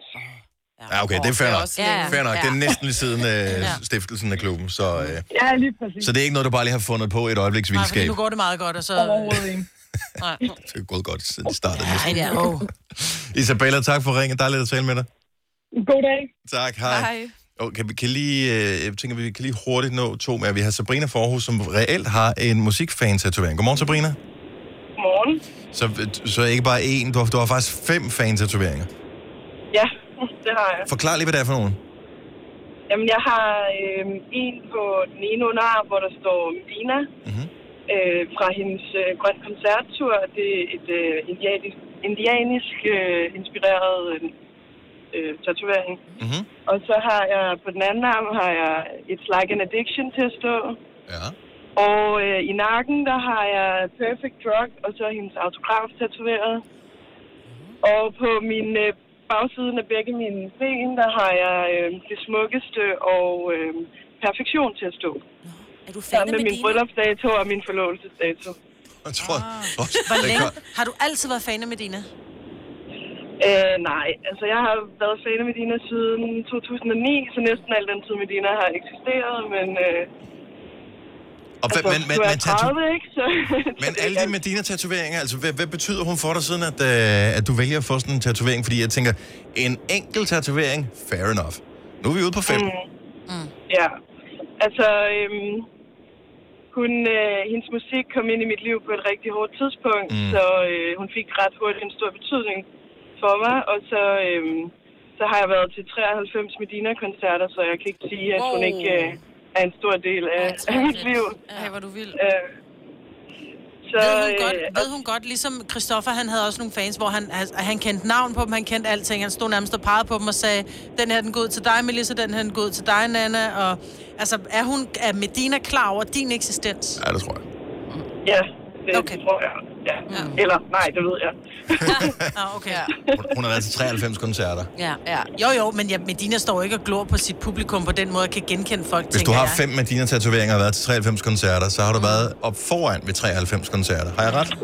S1: ja, okay, det er fair nok.
S2: ja.
S1: Fair nok. Det er næsten lige siden øh, stiftelsen af klubben, så, øh,
S9: Ja, lige præcis.
S1: så det er ikke noget, du bare lige har fundet på i et øjebliks
S4: Nej, fordi
S1: vildskab.
S4: nu går det meget godt, og så...
S9: Overhovedet ikke.
S4: Nej.
S1: Det er gået godt, siden det startede.
S4: I know.
S1: Isabella, tak for ringen. Dejligt at tale med dig.
S9: God dag.
S1: Tak, hej.
S2: Hej.
S1: Okay, vi kan lige, øh, jeg tænker, vi kan lige hurtigt nå to mere. Vi har Sabrina Forhus, som reelt har en musikfan-tatovering. Godmorgen, Sabrina.
S9: Godmorgen.
S1: Så, så ikke bare én, du har, du har faktisk fem fan-tatoveringer.
S9: Ja, det har jeg.
S1: Forklar lige, hvad det er for nogen.
S9: Jamen, jeg har øh, en på den ene underarm, hvor der står Medina.
S1: Mhm.
S9: Mm-hmm. Øh, fra hendes øh, grøn koncerttur. Det er et øh, indianisk, indianisk øh, inspireret øh, øh, tatovering.
S1: Mhm.
S9: Og så har jeg på den anden arm har jeg It's Like an Addiction til at stå.
S1: Ja.
S9: Og øh, i nakken, der har jeg Perfect Drug, og så hendes autograf tatoveret. Og på min øh, bagsiden af begge mine ben, der har jeg øh, det smukkeste og øh, perfektion til at stå.
S3: Er du fan af
S9: Sammen med min
S3: Medina?
S9: bryllupsdato og min forlovelsesdato.
S1: Jeg tror,
S3: Ah.
S1: også,
S4: Hvor
S1: det
S4: længe
S1: gør-
S4: har du altid været fan af Medina?
S9: Øh, nej, altså jeg har været fan af Medina siden 2009, så næsten al den tid Medina har eksisteret, men... Øh,
S1: Og hvad,
S9: altså,
S1: men, men,
S9: nu er
S1: men,
S9: jeg
S1: tatu-
S9: 30, ikke? Så,
S1: men alle de Medina-tatoveringer, altså hvad, hvad betyder hun for dig siden, at, øh, at du vælger at få sådan en tatovering? Fordi jeg tænker, en enkelt tatovering, fair enough. Nu er vi ude på fem. Mm.
S9: Ja, altså øhm, hun, øh, hendes musik kom ind i mit liv på et rigtig hårdt tidspunkt,
S1: Mm.
S9: mm. så øh, hun fik ret hurtigt en stor betydning for mig, og så, øhm, så har jeg været til 93 Medina-koncerter, så jeg kan ikke sige, at hun
S3: Wow.
S9: ikke øh, er en stor del af, af mit liv.
S2: Ej, hvor er du vild.
S9: Øh, så,
S4: Ved hun, godt,
S9: øh,
S4: ved hun godt, ligesom Christoffer, han havde også nogle fans, hvor han, altså, han kendte navn på dem, han kendte alting. Han stod nærmest og pegede på dem og sagde, den her den går ud til dig, Melissa, den her den går ud til dig, Nana. Og, altså, er, hun, er Medina klar over din eksistens?
S1: Ja, det tror jeg.
S9: ja,
S4: Okay.
S9: det okay. Øh, tror jeg. Ja. Ja. Eller nej, det ved jeg.
S4: Ah, okay.
S2: Ja.
S1: Hun, hun har været til 93 koncerter.
S3: Ja.
S2: Ja.
S4: Jo, jo, men ja, Medina står ikke og glor på sit publikum på den måde, og kan genkende folk,
S1: Hvis du
S4: tænker
S1: har
S4: jeg. Mm.
S1: fem Medina-tatoveringer og været til 93 koncerter, så har du været op foran ved 93 koncerter. Har jeg ret?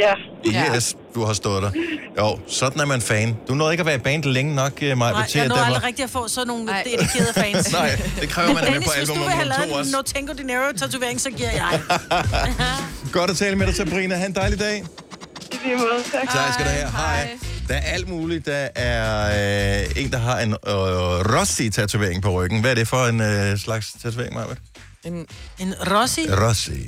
S9: Ja,
S2: Ja.
S1: Yes, du har stået der. Jo, sådan er man fan. Du nåede ikke at være i band længe nok, eh, Maja.
S4: Nej, jeg nåede aldrig rigtig at få sådan nogle
S2: Nej.
S4: dedikerede fans.
S1: Nej, det kræver man med
S4: Dennis,
S1: på
S4: hvis
S1: album
S4: du vil have
S1: nummer to
S4: lavet en
S1: også.
S4: Notengo Dinero-tatovering, så giver jeg.
S1: Godt at tale med dig, Sabrina. Ha' en dejlig dag.
S9: i lige måde. Tak.
S1: Tak skal du have. Hej.
S2: hej.
S1: Der er alt muligt. Der er øh, en, der har en øh, Rossi-tatovering på ryggen. Hvad er det for en øh, slags tatovering, Maja?
S2: En,
S4: En Rossi?
S1: Rossi.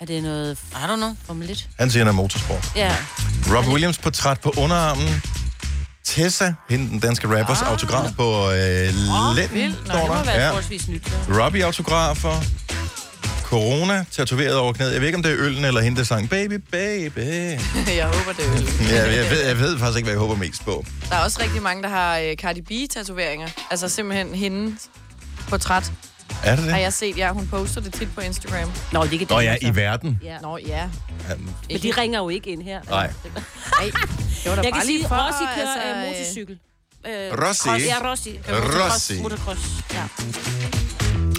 S3: Er det noget
S4: I don't know.
S3: Formel 1?
S1: Han siger, han er motorsport.
S3: Ja.
S1: Rob Williams portræt på underarmen. Tessa, hende den danske rappers ah. autograf på øh, lænden.
S2: vildt. Nå,
S1: står
S3: Det må
S1: der.
S3: være
S1: Ja.
S3: forholdsvis nyt. ja.
S1: Robbie autografer. Corona tatoveret over knæet. Jeg ved ikke, om det er øllen eller hende, der sang Baby, baby.
S2: jeg håber det. er øl.
S1: Ja, jeg, ved, jeg ved faktisk ikke, hvad jeg håber mest på.
S2: Der er også rigtig mange, der har øh, Cardi B-tatoveringer. Altså simpelthen hendes portræt.
S1: Er det
S2: Har
S1: det?
S2: jeg set, ja, hun poster det tit på Instagram.
S3: Nå, det er ikke
S1: Nå
S3: det,
S1: ja,
S3: altså.
S1: i verden.
S3: Ja.
S2: Nå ja,
S1: Jamen,
S3: Men de ringer jo ikke ind her.
S1: Nej.
S2: Ej, det var
S3: Jeg
S2: da bare
S3: kan sige,
S2: lige for,
S3: at Rossi kører
S2: altså,
S3: altså,
S2: øh,
S3: motorcykel. Øh,
S1: Rossi?
S3: cross- Ja, Rossi. Øh, motocross,
S1: Rossi.
S3: Motocross, ja.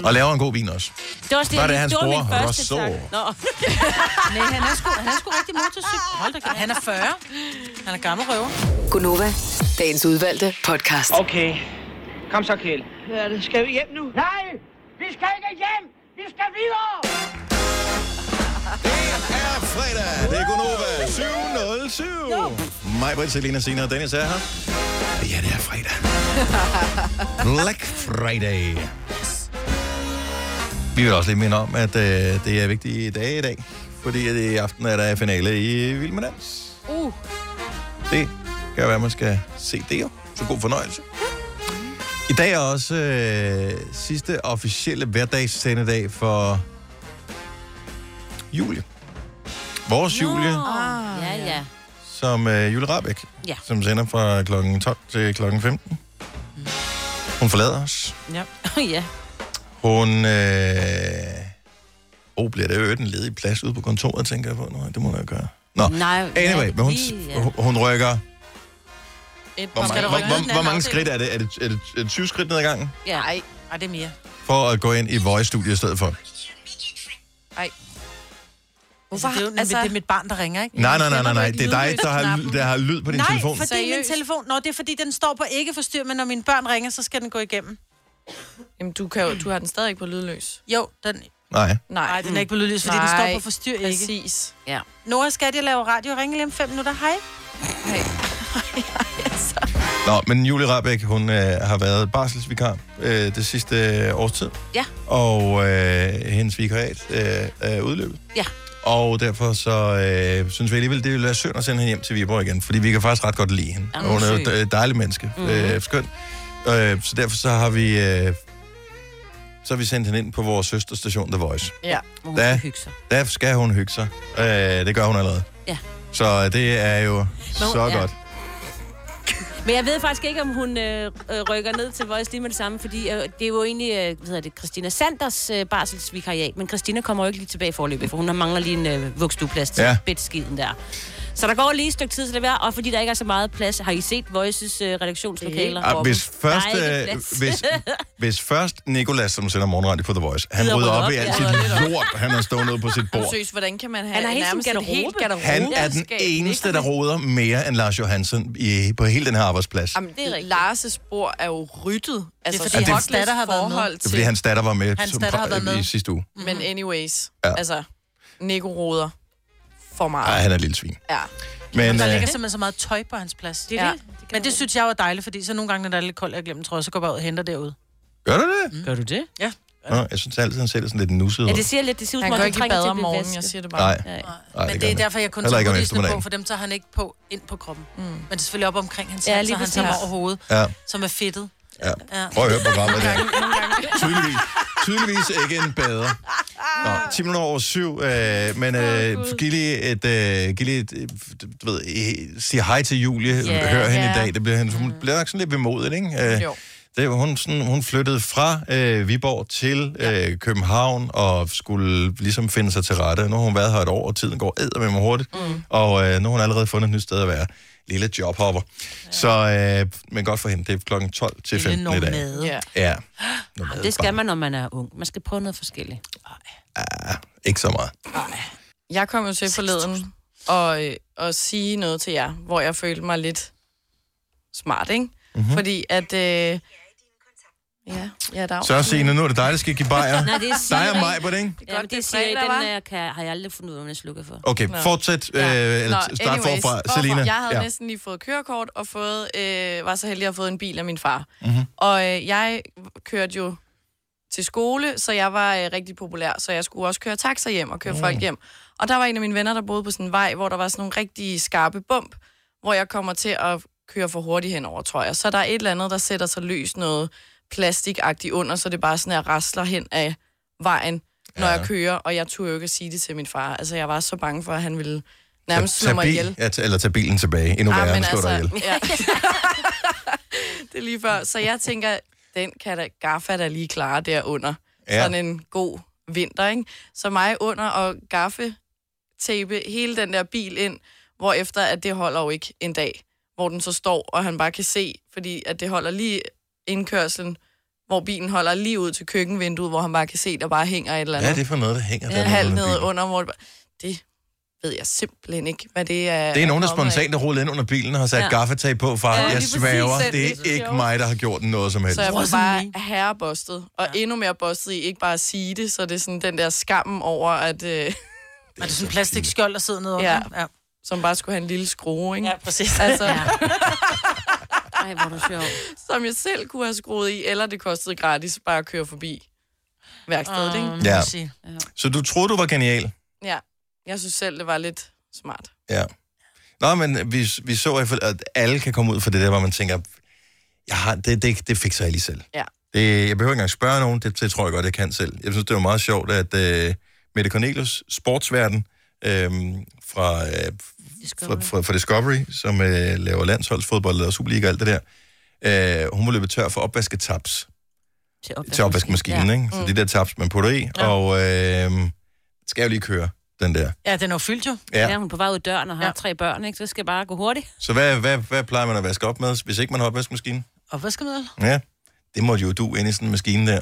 S1: Og laver en god vin også.
S3: Det var, også det,
S1: Var det
S3: jeg-
S1: hans
S3: det var min
S1: bror,
S3: første
S1: Rosso?
S3: tanke. Nå,
S4: Nej, han er sgu, han er sgu rigtig motorcykel. Hold da kæft. Han er 40. Han er gammel røver.
S6: Gunova, dagens udvalgte podcast.
S10: Okay. Kom så, Kjell. Hvad er det? Skal vi hjem nu? Nej! Vi skal ikke hjem! Vi skal videre!
S1: Det er fredag. Det er Gunova 707. Mig, Britt, Selina, Sina og Dennis er her. Ja, det er fredag. Black Friday. Vi vil også lige minde om, at øh, det er vigtige dage i dag, fordi at i aften er der finale i Vild med Dans.
S2: Uh.
S1: Det kan være, at man skal se det jo. Så god fornøjelse. I dag er også øh, sidste officielle hverdagssendedag for Julie. Vores Julie,
S2: Ah,
S3: Oh, ja, ja.
S1: som øh, Julie Rabeck,
S3: Ja.
S1: som sender fra kl. 12 til kl. 15. Hun forlader os.
S3: Ja. ja.
S1: Hun... Øh... Oh, bliver der jo en ledig plads ude på kontoret, tænker jeg på. Nej, det må jeg gøre. Nå,
S3: Nej,
S1: anyway,
S3: ja,
S1: men hun,
S3: lige, ja.
S1: hun- hun rykker...
S2: Et,
S1: Hvor mange, hvor, hvor, hvor mange skridt er det? Er det, er det, er det 20 skridt ned ad gangen?
S3: Ja.
S2: Ej, Ej, det er mere.
S1: For at gå ind i Voice-studiet i stedet for.
S2: Ej.
S4: Hvorfor? Altså, det, er jo, altså... det er mit barn, der ringer, ikke?
S1: Nej, nej, nej,
S4: Jeg
S1: nej,
S4: kender
S1: nej.
S4: ikke
S1: Det er dig, der har,
S4: lydløsknappen.
S1: der har lyd på din
S4: nej,
S1: telefon.
S4: fordi min
S2: Seriøst?
S4: telefon... Nå, det er fordi, den står på ikke forstyr, men når mine børn ringer, så skal den gå igennem.
S2: Jamen, du, kan jo, du har den stadig ikke på lydløs.
S4: Jo, den...
S1: Nej.
S2: Nej,
S4: Nej, den er ikke på lydløs, fordi den står på forstyr ikke.
S2: Præcis.
S3: Ja.
S4: Nora, skal jeg lave radio? Ringe lige om fem minutter. Hej.
S1: Nå, men Julie Rabeck, hun øh, har været barselsvikar øh, det sidste års tid.
S3: Ja.
S1: Og øh, hendes vikariat øh, er udløbet.
S3: Ja.
S1: Og derfor så øh, synes vi alligevel, det ville være synd at sende hende hjem til Viborg igen, fordi vi kan faktisk ret godt lide hende.
S3: Ja,
S1: Og
S3: hun
S1: hun er
S3: er
S1: jo
S3: sød.
S1: et øh, dejligt menneske.
S3: Ah, Mhm.
S1: Mm-hmm. Øh, skøn. Øh, så derfor så har vi... Øh, så har vi sendt hende ind på vores søsterstation The Voice.
S2: Ja.
S3: Hvor hun
S1: Da.
S3: skal hygge sig.
S1: Der skal hun hygge sig. Øh, det gør hun allerede.
S3: Ja.
S1: Så øh, det er jo så
S3: ja.
S1: godt.
S3: Men jeg ved faktisk ikke, om hun øh, øh, rykker ned til Voice lige med det samme, fordi øh, det er jo egentlig, øh, hvad hedder det, Christina Sanders øh, barselsvikariat, men Christina kommer jo ikke lige tilbage i forløbet, for hun har mangler lige en øh, vugstueplads til
S1: Ja.
S3: ja. bedskiden der. Så der går lige et stykke tid til det være, og fordi der ikke er så meget plads, har I set Voices øh, redaktionslokaler?
S1: Ah,
S3: Morten?
S1: hvis først,
S3: Der er ikke
S1: øh,
S3: plads.
S1: hvis, hvis først Nicolas, som sender morgenradio på The Voice, han
S3: Gider
S1: rydder
S3: rydde
S1: op
S3: op,
S1: i alt
S3: ja.
S1: sit lort, han har stået ude på sit bord.
S2: Seriøst, hvordan kan man have
S3: Han har helt sin
S2: nærmest et
S3: garderobe.
S2: helt garderobe?
S1: Han er den eneste, der roder mere end Lars Johansen i, på hele den her arbejdsplads.
S2: Jamen,
S3: Det er rigtigt.
S2: Lars' bror er jo ryttet. Altså,
S4: fordi
S2: det er fordi,
S1: hans
S2: hans datter har været
S4: med.
S2: forhold
S1: Det er
S2: til,
S1: fordi, hans datter var med,
S4: Hans
S1: som,
S4: datter har været
S1: i
S4: med.
S1: sidste uge.
S2: Men anyways,
S1: Ja.
S2: ja. altså, Nico roder for
S1: Ej,
S2: meget.
S1: han er et lille svin.
S2: Ja.
S1: Men,
S4: Der
S1: øh,
S4: ligger simpelthen så meget tøj på hans plads.
S3: Det er det.
S4: Det Men det synes jeg var dejligt, fordi så nogle gange, når der er lidt koldt, og jeg glemmer trøje, så går jeg bare ud og henter derude.
S1: gør du det?
S3: Gør du det?
S1: Nå, jeg synes altid, han ser sådan lidt nusset ud.
S3: Ja, det siger lidt, det ser ud
S2: Han
S3: som om,
S2: går
S3: det
S2: ikke i
S3: trænger
S2: bad
S3: til at
S2: om
S3: blive
S2: morgenen,
S3: vasket.
S2: jeg siger det bare.
S1: Nej,
S3: Nej.
S1: nej,
S4: Men
S1: det
S4: det
S1: gør
S4: er
S1: han
S4: derfor, jeg kun
S1: Heller
S4: tager
S1: ikke om
S4: hovedisene på,
S1: eftermiddagen.
S4: for dem tager han ikke på ind på kroppen. Mm. Men det er selvfølgelig op omkring hans
S3: Ja,
S4: ja, hals,
S3: lige
S4: og hans hår
S3: præcis.
S4: og hoved,
S1: Ja,
S4: som er fedtet.
S1: ja.
S4: Ja.
S1: Prøv at høre programmet der. Tydeligvis, tydeligvis ikke en bader. Nå, 10 minutter over syv, øh, men øh, giv lige et, øh, giv lige et, øh, du ved, øh, sig hej til Julie, yeah,
S3: Ja,
S1: hør hende
S2: ja.
S1: i dag, det bliver, hun bliver nok sådan lidt bemodet, ikke? Øh,
S2: Jo.
S1: det, var hun, sådan, hun flyttede fra øh, Viborg til øh, København og skulle ligesom finde sig til rette. Nu har hun været her et år, og tiden går æder med mig hurtigt. Mm. Og øh, nu har hun allerede fundet et nyt sted at være. Lille jobhopper. Ja. Så, øh, men godt for hende, det er klokken 12 til 15 i dag.
S2: Ja.
S1: Ja.
S3: Jamen, Ah, Det skal man, når man er ung. Man skal prøve noget forskelligt.
S1: Ikke så meget.
S2: Jeg kom jo til forleden og, øh, og sige noget til jer, hvor jeg følte mig lidt smart, ikke?
S1: Mhm.
S2: Mm-hmm. Fordi at... Øh, ja, ja, der er
S1: Så Signe, nu er det dig, der skal give bajer.
S3: Nej, det er Siri.
S1: dig og mig på det, ikke?
S3: Ja, men
S2: det er
S3: det siger jeg,
S2: fredag,
S3: den
S2: hva'?
S3: øh, kan, har jeg aldrig fundet ud af, hvordan jeg slukker for.
S1: Okay,
S2: Nå.
S1: fortsæt. Øh, eller start forfra. Selina.
S2: Jeg havde
S1: ja.
S2: næsten lige fået kørekort og fået, øh, var så heldig at have fået en bil af min far.
S1: Mhm.
S2: Mm-hmm. Og øh, jeg kørte jo til skole, så jeg var øh, rigtig populær, så jeg skulle også køre taxa hjem og køre mm. folk hjem. Og der var en af mine venner, der boede på sådan en vej, hvor der var sådan nogle rigtig skarpe bump, hvor jeg kommer til at køre for hurtigt henover, tror jeg. Så der er et eller andet, der sætter sig løs noget plastikagtigt under, så det bare sådan er rasler hen af vejen, når
S1: Ja.
S2: jeg kører, og jeg turde jo ikke at sige det til min far. Altså, jeg var så bange for, at han ville
S1: Tag-
S2: nærmest slå
S1: tag
S2: mig
S1: bil-
S2: ihjel. Ah, altså,
S1: Ja, t- eller tag bilen tilbage. Endnu værre, end slå dig ihjel.
S2: ja. det er lige før. Så jeg tænker, den kan da Gaffa da lige klare derunder.
S1: Ja.
S2: Ja. Sådan en god vinter, ikke? Så mig under og Gaffe tape hele den der bil ind, hvor efter at det holder jo ikke en dag, hvor den så står, og han bare kan se, fordi at det holder lige indkørslen, hvor bilen holder lige ud til køkkenvinduet, hvor han bare kan se, der bare hænger et eller andet
S1: Ja, det er for noget, der hænger der.
S2: ja, halv ned under, hvor det, bare- det ved jeg simpelthen ikke, hvad det er.
S1: Det er nogen, der
S2: kommet af.
S1: spontant har rullet ind under bilen og har sat ja. gaffetag på, far.
S2: Ja,
S1: Ja,
S2: lige
S1: jeg
S2: præcis.
S1: svæver,
S2: Selv
S1: det
S2: det.
S1: er ikke mig, der har gjort noget som helst.
S2: Så jeg
S1: Så
S2: blev bare herrebostet, og ja. endnu mere bostet i ikke bare at sige det, så det er sådan den der skammen over, at... Øh,
S4: Og det er sådan en plastikskjold, der sidder nede
S2: Ja.
S4: under. Ja.
S2: som bare skulle have en lille skrue, ikke? Ja,
S4: præcis.
S2: Altså,
S4: Ja.
S2: Ej, hvor er sjov. Som jeg selv kunne have skruet i, eller det kostede gratis bare at køre forbi værkstedet,
S4: Ah,
S2: ikke?
S1: Ja. Så du troede, du var genial?
S2: Ja, jeg synes selv, det var lidt smart.
S1: Ja. Nå, men vi, vi så i hvert fald, at alle kan komme ud for det der, hvor man tænker, jeg har, det, det, det fikser jeg lige selv.
S2: Ja.
S1: Det, jeg behøver ikke engang spørge nogen, det, det tror jeg godt, jeg kan selv. Jeg synes, det var meget sjovt, at uh, Mette Cornelius, sportsverden øhm, fra, øh, fra, fra, fra Discovery, som øh, laver landsholdsfodbold og Superliga og alt det der, øh, hun var løbet tør for opvasketaps til opvaskemaskinen, ja. ikke? Så mm. de der taps, man putter i, ja. og øh, skal jo lige køre den der.
S4: Ja, den er jo fyldt jo.
S1: Ja.
S3: ja. hun er på vej ud af døren og har ja. tre børn, ikke? Så det skal bare gå hurtigt.
S1: Så hvad, hvad, hvad plejer man at vaske op med, hvis ikke man har opvaskemaskinen?
S4: Opvaskemiddel?
S1: Ja, det måtte jo du ind i sådan en maskine der.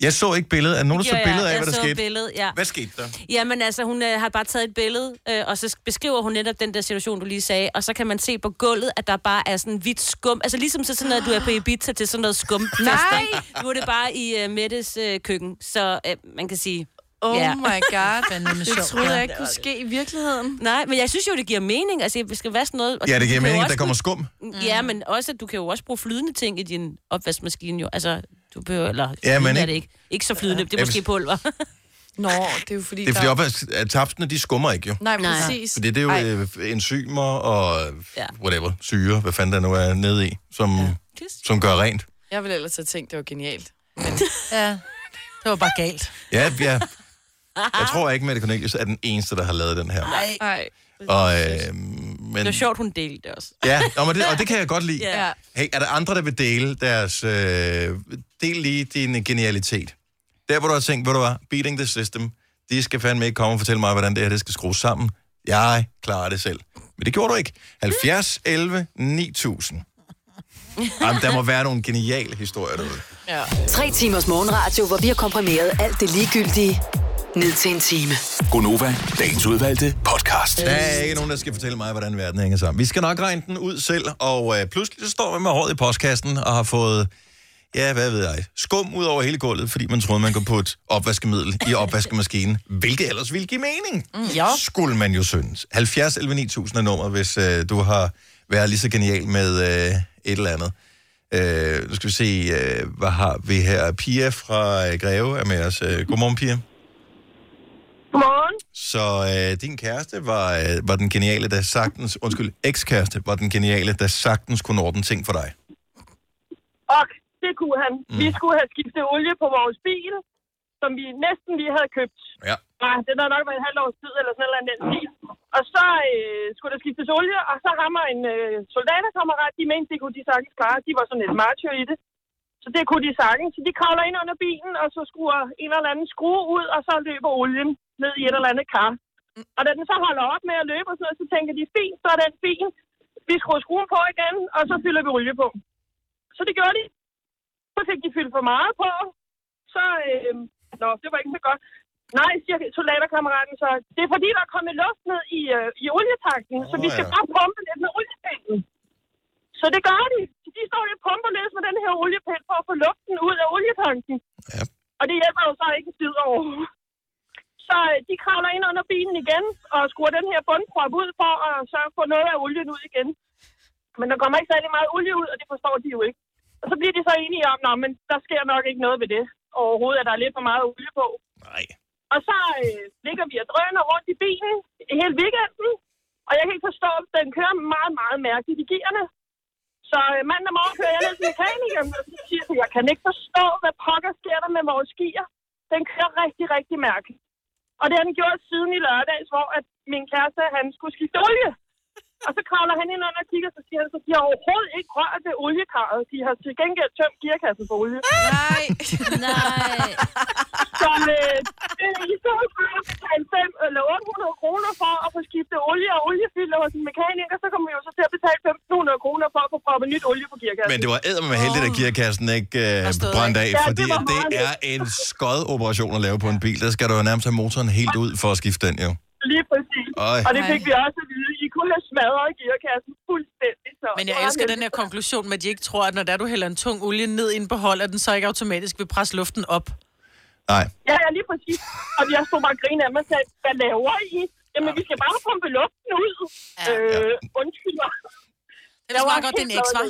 S1: Jeg så ikke billedet. Er der nogen, der så
S3: Ja, ja,
S1: billedet af,
S3: jeg
S1: hvad der
S3: så
S1: skete?
S3: Billedet, ja.
S1: Hvad skete der?
S3: Jamen altså, hun øh, har bare taget et billede, øh, og så sk- beskriver hun netop den der situation, du lige sagde, og så kan man se på gulvet, at der bare er sådan hvidt skum. Altså ligesom så sådan noget, du er på Ibiza til sådan noget skum.
S2: Nej!
S3: Nu er det bare i øh, Mettes øh, køkken, så øh, man kan sige...
S2: Oh
S3: ja.
S2: my god, det
S3: sjovt,
S2: troede
S3: ja.
S2: jeg ikke kunne ske i virkeligheden.
S3: Nej, men jeg synes jo, det giver mening. Altså, vi skal vaske noget. Og
S1: Ja,
S3: du
S1: det giver
S3: kan jo
S1: mening, at
S3: også
S1: der kommer skum.
S3: bruge- Mm. Ja,
S4: Mm.
S3: men også, at du kan jo også bruge flydende ting i din opvaskemaskine. Jo. Altså, du behøver... Eller,
S1: Ja,
S3: ja,
S1: men
S3: men er
S1: ikke-
S3: det ikke. Ikke så flydende, det
S1: Ja,
S3: er måske
S1: hvis-
S3: pulver.
S2: Nå, det er jo fordi...
S1: Det er fordi opvasketapsene, de skummer ikke jo.
S2: Nej, Nej. præcis.
S1: Fordi det er jo
S2: Ej.
S1: øh, enzymer og øh,
S2: Ja.
S1: whatever, syre, hvad fanden der nu er nede i, som, ja. som gør rent.
S2: Jeg ville ellers have tænkt, det var genialt.
S4: Ja. Det var bare galt.
S1: Ja, ja.
S2: Ah.
S1: Jeg tror ikke, Mette Cornelius er den eneste, der har lavet den her.
S2: Nej.
S1: Og, øh, men,
S3: Det var sjovt, hun delte det også.
S1: Ja, nå, men det, og det kan jeg godt lide.
S3: Ja.
S1: Hey, er der andre, der vil dele deres... Øh, del lige din genialitet. Der, hvor du har tænkt, ved du hvad, beating the system, de skal fandme ikke komme og fortælle mig, hvordan det her det skal skrues sammen. Jeg klarer det selv. Men det gjorde du ikke. 70, 11, 9000. Jamen, der må være nogle geniale historier derude.
S2: Ja.
S6: Tre timers morgenradio, hvor vi har komprimeret alt det ligegyldige ned til en time.
S7: Gonova, dagens udvalgte podcast.
S1: Der er ikke nogen, der skal fortælle mig, hvordan verden hænger sammen. Vi skal nok regne den ud selv, og øh, pludselig så står man med håret i postkassen og har fået, ja, hvad ved jeg, skum ud over hele gulvet, fordi man troede, man kunne putte opvaskemiddel i opvaskemaskinen, hvilket ellers ville give mening. Mm.
S4: Ja.
S1: Skulle man jo synes. 70 11 9000 er nummer, hvis øh, du har været lige så genial med øh, et eller andet. Øh, nu skal vi se, øh, hvad har vi her? Pia fra øh, Greve er med os. Øh, godmorgen, Pia.
S11: Godmorgen.
S1: Så øh, din kæreste var, øh, var den geniale, der sagtens... Undskyld, ekskæreste var den geniale, der sagtens kunne ordne ting for dig.
S11: Og det kunne han. Mm. Vi skulle have skiftet olie på vores bil, som vi næsten lige havde købt.
S1: Ja.
S11: Ja, det har nok været et halvt års tid, eller sådan noget den stil. Og så øh, skulle der skiftes olie, og så rammer en øh, soldaterkammerat, de mente, det kunne de sagtens klare. De var sådan lidt martyr i det. Så det kunne de sagtens. Så de kravler ind under bilen, og så skruer en eller anden skrue ud, og så løber olien ned i et eller andet kar. Og da den så holder op med at løbe og sådan noget, så tænker de, fint, så er den fin. Vi skruer skruen på igen, og så fylder vi olie på. Så det gjorde de. Så fik de fyldt for meget på. Så, øh, nå, det var ikke så godt. Nej, siger soldaterkammeraten så. Det er fordi, der er kommet luft ned i, øh, i olietanken, oh, så
S1: Åh,
S11: vi skal
S1: ja.
S11: bare pumpe lidt med olietanken. Så det gør de. Så de står lidt og pumper lidt med den her oliepind for at få luften ud af olietanken.
S1: Ja.
S11: Og det hjælper jo så ikke en skid over. Så øh, de kravler ind under bilen igen og skruer den her bundprop ud for at så få noget af olien ud igen. Men der kommer ikke særlig meget olie ud, og det forstår de jo ikke. Og så bliver de så enige om, at der sker nok ikke noget ved det overhovedet, at der er lidt for meget olie på.
S1: Nej.
S11: Og så øh, ligger vi og drøner rundt i bilen hele weekenden, og jeg kan ikke forstå, at den kører meget, meget mærkeligt i gearne. Så øh, mandag morgen kører jeg ned til mekanikeren, og så siger jeg, jeg kan ikke forstå, hvad pokker sker der med vores gear. Den kører rigtig, rigtig mærkeligt. Og det har den gjort siden i lørdags, hvor at min kæreste, han skulle skifte olie. Og så kravler han ind under og kigger, så siger han, så de har overhovedet ikke rørt ved oliekarret. De har til gengæld tømt gearkassen for olie.
S2: Nej.
S3: Nej.
S11: Så øh, det er i stedet for at betale 5 eller 800 kroner for at få skiftet olie og oliefilter hos en mekaniker, så kommer vi jo så til at betale 1500 kroner for at få proppet nyt olie på gearkassen.
S1: Men det var æder med heldigt, at gearkassen ikke øh, brændte af,
S11: ikke? Ja,
S1: fordi
S11: det var
S1: at det er
S11: meget
S1: en skodoperation at lave på en bil. Der skal du jo nærmest have motoren helt ud for at skifte den, jo.
S11: Lige præcis.
S1: Ej.
S11: Og det fik vi også at vide. I kunne have smadret gearkassen fuldstændig. Så
S4: Men jeg elsker den her konklusion med, at de ikke tror, at når der du hælder en tung olie ned i en behold, at den så ikke automatisk vil presse luften op.
S1: Nej.
S11: Ja, ja, lige præcis. Og jeg stod bare og grinede af mig og sagde, hvad laver I?
S12: Jamen, vi skal bare pumpe luften ud. Ja. Øh, undskyld mig.
S4: Det smager godt, det er en eks, hva'?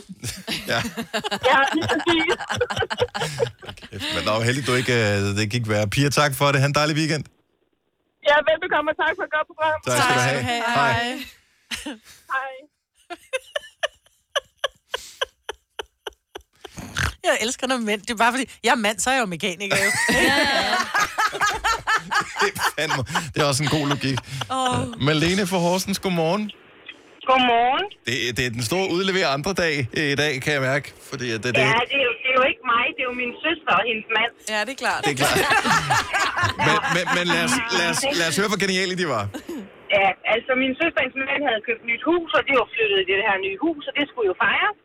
S1: Ja.
S12: ja, lige præcis.
S1: Men nå, heldig, du ikke, øh, det gik være. Pia, tak for det. Han en dejlig weekend.
S12: Ja, velbekomme, og tak for et godt program.
S1: Tak skal du have. Hej.
S12: Hej.
S4: Jeg elsker, når mænd... Det er bare fordi, jeg er mand, så er jeg jo mekaniker. jo.
S1: Fandme. Det er også en god logik.
S4: Åh.
S1: Malene fra Horsens, godmorgen.
S12: Godmorgen.
S1: Det, det er den store udlever andre dag øh, i dag, kan jeg mærke. Fordi at det, det,
S12: Ja, det er, jo, det er jo ikke mig, det er jo min søster og hendes mand. Ja, det er klart.
S1: Det er klart. men, men, men lad, os, lad, os, lad os høre, hvor geniale de var.
S12: Ja, altså min søster og hendes mand havde købt nyt hus, og de var flyttet i det her nye hus, og det skulle jo fejres.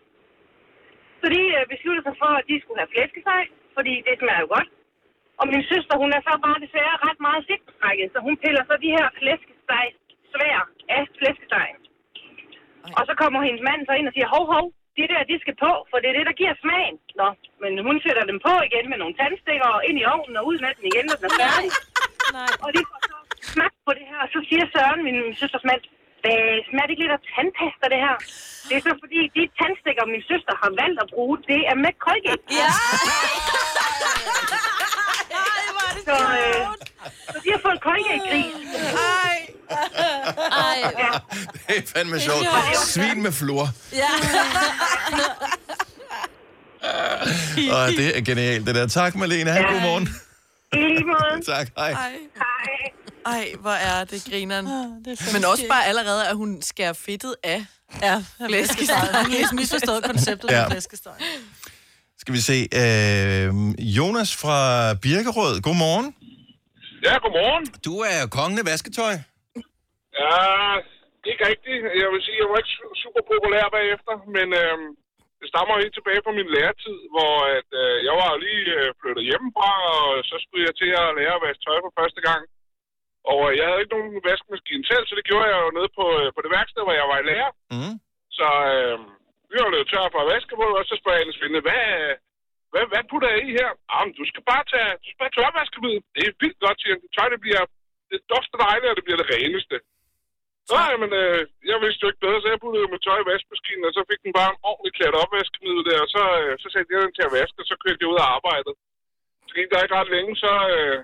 S12: Så de øh, besluttede sig for, at de skulle have flæskesteg, fordi det smager jo godt. Og min søster, hun er så bare desværre ret meget sigtbrækket, så hun piller så de her flæskesteg svær af flæskesteg. Og så kommer hendes mand så ind og siger, hov, hov, det der, de skal på, for det er det, der giver smagen. Nå, men hun sætter dem på igen med nogle tandstikker og ind i ovnen og ud med den igen, når den er færdig. Nej. Og de får så smagt på det her, og så siger Søren, min søsters mand, hvad smager det ikke lidt af tandpasta, det her? Det er så fordi, de tandstikker, min søster har valgt at bruge, det er med Colgate. Ja! Så, øh, så de har fået Colgate-gris. Ej! Ej,
S1: Det er fandme sjovt. Svin med flor.
S12: Ja.
S1: Og det er genialt, det der. Tak, Malene. Ha' en god morgen.
S12: I lige måde.
S1: Tak, hej.
S2: Ej. Ej, hvor er det grineren.
S4: Ah,
S2: Det Men også bare allerede, at hun skærer fedtet af ja, flæskesteg.
S4: Hun har helt misforstået konceptet
S1: Ja.
S4: med flæskesteg.
S1: Skal vi se. Øh, Jonas fra Birkerød, godmorgen.
S13: Ja, godmorgen.
S1: Du er kongen af vasketøj.
S13: Ja, ikke rigtigt. Jeg vil sige, jeg var ikke su- super populær bagefter, men øh, det stammer helt tilbage fra min læretid, hvor at, øh, jeg var lige øh, flyttet hjemmefra, og så skulle jeg til at lære at vaske tøj for første gang. Og øh, jeg havde ikke nogen vaskemaskine selv, så det gjorde jeg jo nede på, øh, på det værksted, hvor jeg var i lærer.
S1: Mm.
S13: Så øh, vi var blevet tør for at vaske på, og så spørger jeg hendes veninde, hvad, øh, hvad, hvad putter jeg i her? Jamen, du skal bare tage, du skal bare tage opvaskemiddel. Det er vildt godt, siger han. Dit Tøj, det bliver, det dufter dejligt, og det bliver det reneste. Nej, men øh, jeg vidste jo ikke bedre, så jeg puttede jo mit tøj i vaskemaskinen, og så fik den bare en ordentlig klat opvaskemiddel der, og så, øh, så satte jeg den til at vaske, og så kørte jeg ud af arbejdet. Så gik der ikke ret længe, så, øh,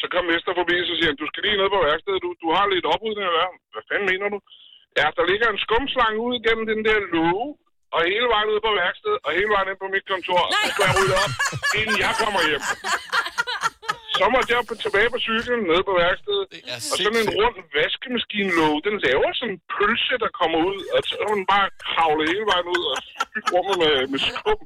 S13: så kom Hester forbi, og så siger han, du skal lige ned på værkstedet, du, du har lidt oprydning at gøre. Hvad fanden mener du? Ja, der ligger en skumslange ud gennem den der låge, og hele vejen ud på værkstedet, og hele vejen ind på mit kontor, og så skal jeg rydde op, inden jeg kommer hjem. Så måtte jeg på- tilbage på cyklen nede på værkstedet, og sådan en rund vaskemaskinlåge, den laver sådan en pølse, der kommer ud, og så er hun bare kravlet hele vejen ud og fyldt rummet med, med skum.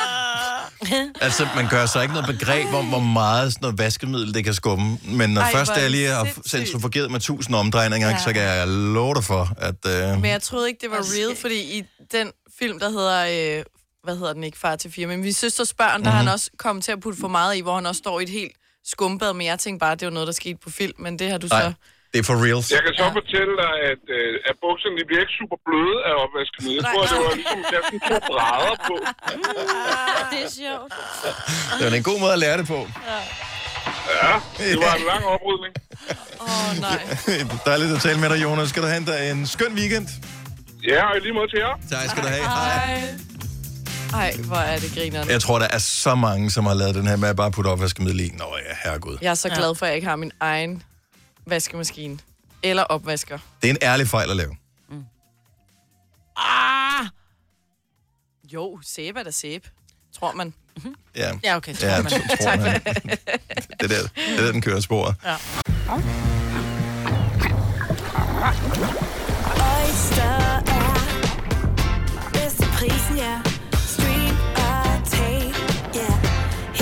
S2: Ah.
S1: Altså, man gør sig ikke noget begreb om, hvor meget sådan noget vaskemiddel det kan skubbe. Men når
S2: Ej,
S1: Ej,
S2: hvor
S1: først jeg lige har
S2: sindssygt.
S1: centrifugeret med tusind omdrejninger, ja.
S2: Ja.
S1: så kan jeg love dig for, at... Øh,
S2: Men jeg troede ikke, det var real, fordi i den film, der hedder... Øh, hvad hedder den ikke? Far til fire. Men min søsters børn, der har
S1: Mhm.
S2: han også kommet til at putte for meget i, hvor han også står i et helt skumbad. Men jeg tænkte bare, at det var noget, der skete på film. Men det har du så...
S1: Nej, det er for reals.
S13: Jeg kan så fortælle dig, at, øh, at bukserne de bliver ikke super bløde af opvaskemiddel. Jeg tror, det var ligesom at tage sådan to brædder på.
S3: det er sjovt.
S1: Det var en god måde at lære det på.
S13: Ja, det var en lang oprydning.
S2: Åh, oh, nej.
S1: Dejligt at tale med dig, Jonas. Skal du have en, dag- en skøn weekend?
S13: Ja, og i lige måde til jer.
S1: Tak skal du have.
S2: Ej. Ej, hvor er det grineren.
S1: Jeg tror, der er så mange, som har lavet den her med at bare putte opvaskemiddel i. Nå ja, herregud.
S2: Jeg er så glad for, at jeg ikke har min egen vaskemaskine. Eller opvasker.
S1: Det er en ærlig fejl at lave.
S2: Ah! Jo, sæbe er da sæbe. Tror man.
S1: Ja,
S2: Ja, okay, tror
S1: ja,
S2: man.
S1: tro- Tror
S2: Tak
S1: man.
S2: for det.
S1: det, er der, det er der, den kører sporet.
S2: Ja.
S14: Oyster er bedst til prisen, ja. Stream og tag, ja.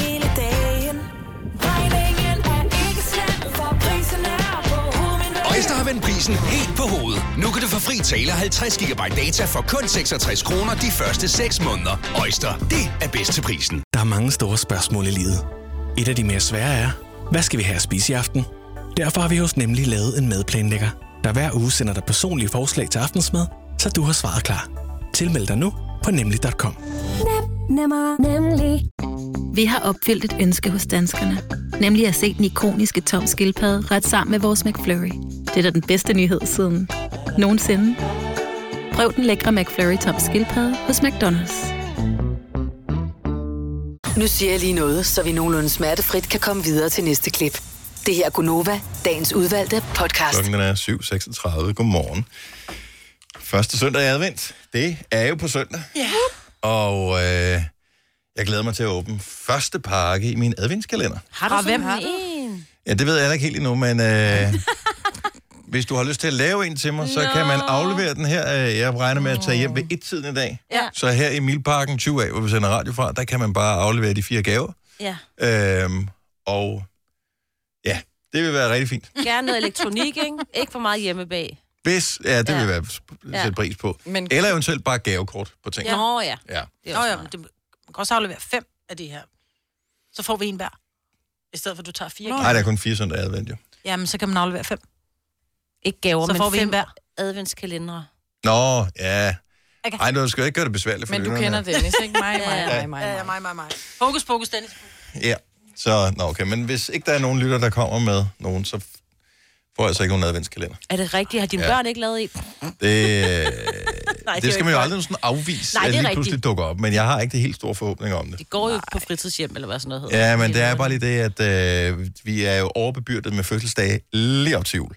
S14: Hele dagen. Regningen er ikke slem, for prisen er på hovedet.
S7: Øjster har vendt prisen helt på hovedet. Nu kan du få fri tale 50 GB data for kun 66 kroner de første 6 måneder. Øjster, det er bedst til prisen.
S15: Der er mange store spørgsmål i livet. Et af de mere svære er, hvad skal vi have at spise i aften? Derfor har vi hos Nemlig lavet en madplanlægger, der hver uge sender dig personlige forslag til aftensmad, så du har svaret klar. Tilmeld dig nu på nemlig.com.
S16: Nemmer, nemlig. Vi har opfyldt et ønske hos danskerne. Nemlig at se den ikoniske tom skildpadde ret sammen med vores McFlurry.
S17: Det er da den bedste nyhed siden nogensinde. Prøv den lækre McFlurry Tom Skilpad hos McDonald's.
S6: Nu siger jeg lige noget, så vi nogenlunde smertefrit kan komme videre til næste klip. Det her er Gunova, dagens udvalgte podcast.
S1: Klokken den er 7.36. Godmorgen. Første søndag i advent. Det er jo på søndag.
S4: Ja.
S1: Og øh, jeg glæder mig til at åbne første pakke i min adventskalender.
S4: Har du og hvem har en?
S1: Ja, det ved jeg da ikke helt endnu, men øh, hvis du har lyst til at lave en til mig, så kan man aflevere den her. Øh, Jeg regner med at tage hjem ved et tiden i dag.
S4: Ja.
S1: Så her i Milparken 20A, hvor vi sender radio fra, der kan man bare aflevere de fire gaver.
S3: Ja.
S1: Øhm, og ja, det vil være rigtig fint.
S3: Gerne noget elektronik, ikke? Ikke for meget hjemme bag.
S1: Hvis, ja, det ja.
S3: Ja.
S1: vil være
S3: Ja.
S1: sætte ja. pris på.
S3: Men-
S1: Men... Eller eventuelt bare gavekort på ting.
S4: Ja. Nå, ja.
S1: ja.
S4: Det Nå, ja, men det, man kan også aflevere fem af de her. Så får vi en hver. I stedet for, at du tager fire.
S1: Nej, der er kun fire søndage advendt, jo.
S4: Jamen, så kan man aflevere fem.
S3: Ikke gaver,
S4: så
S3: men
S4: får vi
S3: fem
S4: en hver.
S3: adventskalendere.
S1: Nå, ja.
S4: Okay.
S1: Ej, du skal jo ikke gøre det besværligt for lytterne her.
S4: ikke? Mig,
S1: mig, mig, mig,
S4: Ja, mig, mig, mig. Fokus, fokus, Dennis.
S1: Ja, så nå, okay. Men hvis ikke der er nogen lytter, der kommer med nogen, så får jeg så ikke nogen adventskalender.
S3: Er det rigtigt? Har dine
S1: Ja.
S3: ja. børn ikke lavet en?
S1: Det,
S3: Nej,
S1: Nej,
S3: det er
S1: det skal
S3: jo
S1: man
S3: ikke
S1: jo aldrig sådan afvise,
S3: Nej,
S1: Nej,
S3: det
S1: at
S3: er
S1: lige
S3: rigtigt.
S1: pludselig dukker op. Men jeg har ikke det helt store forhåbninger om det.
S3: Det går jo på fritidshjem, eller hvad sådan noget hedder.
S1: Ja, men det er bare lige det, at øh, vi er jo overbebyrdet med fødselsdage lige op til jul.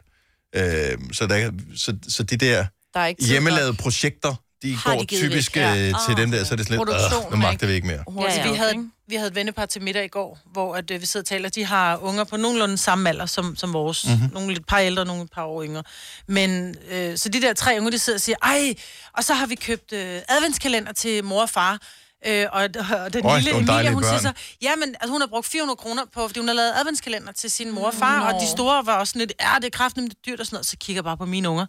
S1: Øh, så, der, så, så de der,
S2: Der er ikke tid
S1: hjemmelavede projekter, de
S4: Har
S1: går
S4: de givet
S1: typisk
S4: væk, ja.
S1: ja. til dem der, så er det sådan lidt,
S4: Produktionen
S1: "Åh, nu
S4: er
S1: magter vi ikke mere.
S4: Ja, ja, Altså, vi, havde, vi havde et vennepar til middag i går, hvor at, øh, vi sidder og taler. De har unger på nogenlunde samme alder som, som vores. Mm-hmm.
S1: Mhm.
S4: Nogle lidt par ældre, nogle et par år yngre. Men, øh, så de der tre unge, de sidder og siger, ej, og så har vi købt øh, adventskalender til mor og far. Øh, og, og den
S1: Øj,
S4: lille
S1: nogle
S4: Emilia,
S1: dejlige
S4: hun siger
S1: børn.
S4: så, ja, men altså, hun har brugt 400 kroner på, fordi hun har lavet adventskalender til sin mor og far, og de store var også sådan lidt, ja, det er kraften, det er dyrt og sådan noget, så kigger jeg bare på mine unger.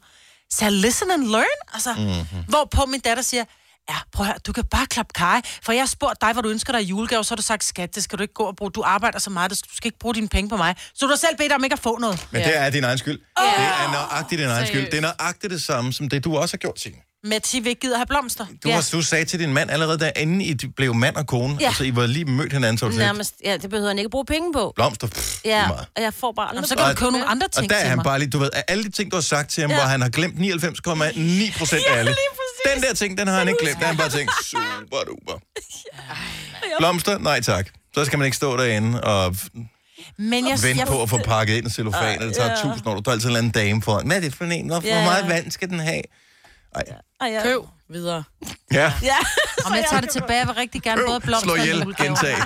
S4: Så jeg listen and learn, altså.
S1: Mm. Mhm.
S4: Mm-hmm. Hvorpå min datter siger, ja, prøv at høre, du kan bare klappe kaj, for jeg har spurgt dig, hvad du ønsker dig i julegave, så har du sagt, skat, det skal du ikke gå og bruge, du arbejder så meget, du skal ikke bruge dine penge på mig, så du har selv bedt om ikke at få noget.
S1: Men det er din egen skyld. Det er nøjagtigt din egen skyld. Det er nøjagtigt det samme, som det, du også har gjort, Signe.
S4: Matti vil ikke gider have blomster.
S1: Du, ja. du sagde til din mand allerede der, inden I blev mand og kone,
S3: Ja.
S1: ja. altså I var lige mødt hinanden, så var du sådan lidt,
S3: Nærmest, ja, det behøver han ikke bruge penge på.
S1: blomster, pff,
S3: Ja,
S1: lige meget.
S3: og jeg får bare...
S4: så kan du købe nogle andre ting
S1: Og der er
S4: til
S1: han
S4: mig.
S1: bare lige, du ved, af alle de ting, du har sagt til ham,
S4: Ja.
S1: ja. hvor han har glemt 99,9 procent af alle. Den der ting, den har han ikke glemt. Der har han bare tænkt, super duper. Blomster? Nej tak. Så skal man ikke stå derinde og
S4: Men jeg,
S1: vente
S4: jeg,
S1: på at få pakket ind i cellofan, og det tager
S4: Ja.
S1: tusind år. Du er altid en eller anden dame for. Hvad er det for en? Hvor,
S4: Ja.
S1: hvor meget vand skal den have?
S4: Ej, ja. Køb videre.
S1: Ja.
S4: Ja. Om jeg tager det tilbage, jeg vil rigtig gerne både blomster
S1: Slå
S4: og
S1: ihjel,
S4: julegaver.
S1: gentag.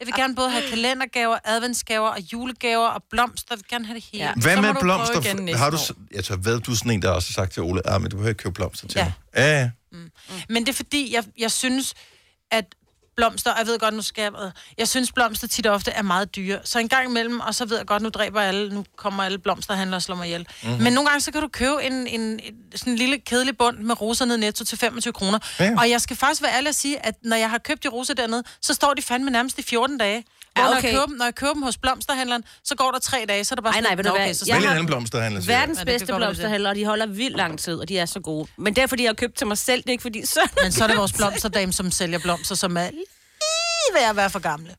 S4: Jeg vil gerne både have kalendergaver, adventsgaver og julegaver og blomster. Jeg vil gerne have det hele. Ja.
S1: Hvad med blomster? Har du, s- jeg tør ved, du er sådan en, der også har sagt til Ole, ah, men du behøver ikke købe blomster til
S4: Ja.
S1: mig. Ja, ja.
S4: Mm. Men det er fordi, jeg, jeg synes, at blomster, og jeg ved godt, nu skal jeg, jeg synes, blomster tit og ofte er meget dyre. Så en gang imellem, og så ved jeg godt, nu dræber jeg alle, nu kommer alle blomsterhandlere og slår mig ihjel. Mm-hmm.
S18: Mhm.
S4: Men nogle gange, så kan du købe en, en, en sådan en lille kedelig bund med roser ned i netto til 25 kroner. Ja. Og jeg skal faktisk være ærlig og sige, at når jeg har købt de roser dernede, så står de fandme nærmest i 14 dage.
S3: Ja,
S4: Hvor ja,
S3: okay.
S4: okay. når, jeg køber, dem- når jeg køber dem hos blomsterhandleren, så går der tre dage, så er der bare
S3: Ej, nej, ved du
S4: "Nå,
S3: hvad?
S4: så
S1: Vælg
S4: står
S1: en
S4: der."
S1: anden blomsterhandler. siger jeg.
S3: Verdens
S4: Ja, det kan
S3: bedste
S4: godt være, det er.
S3: blomsterhandler, og de holder vildt lang tid, og de er så gode. Men det er, fordi jeg har købt til mig selv, det er ikke fordi... Så...
S4: Men så er det vores blomsterdame, som sælger blomster, som er lige ved at være for gamle.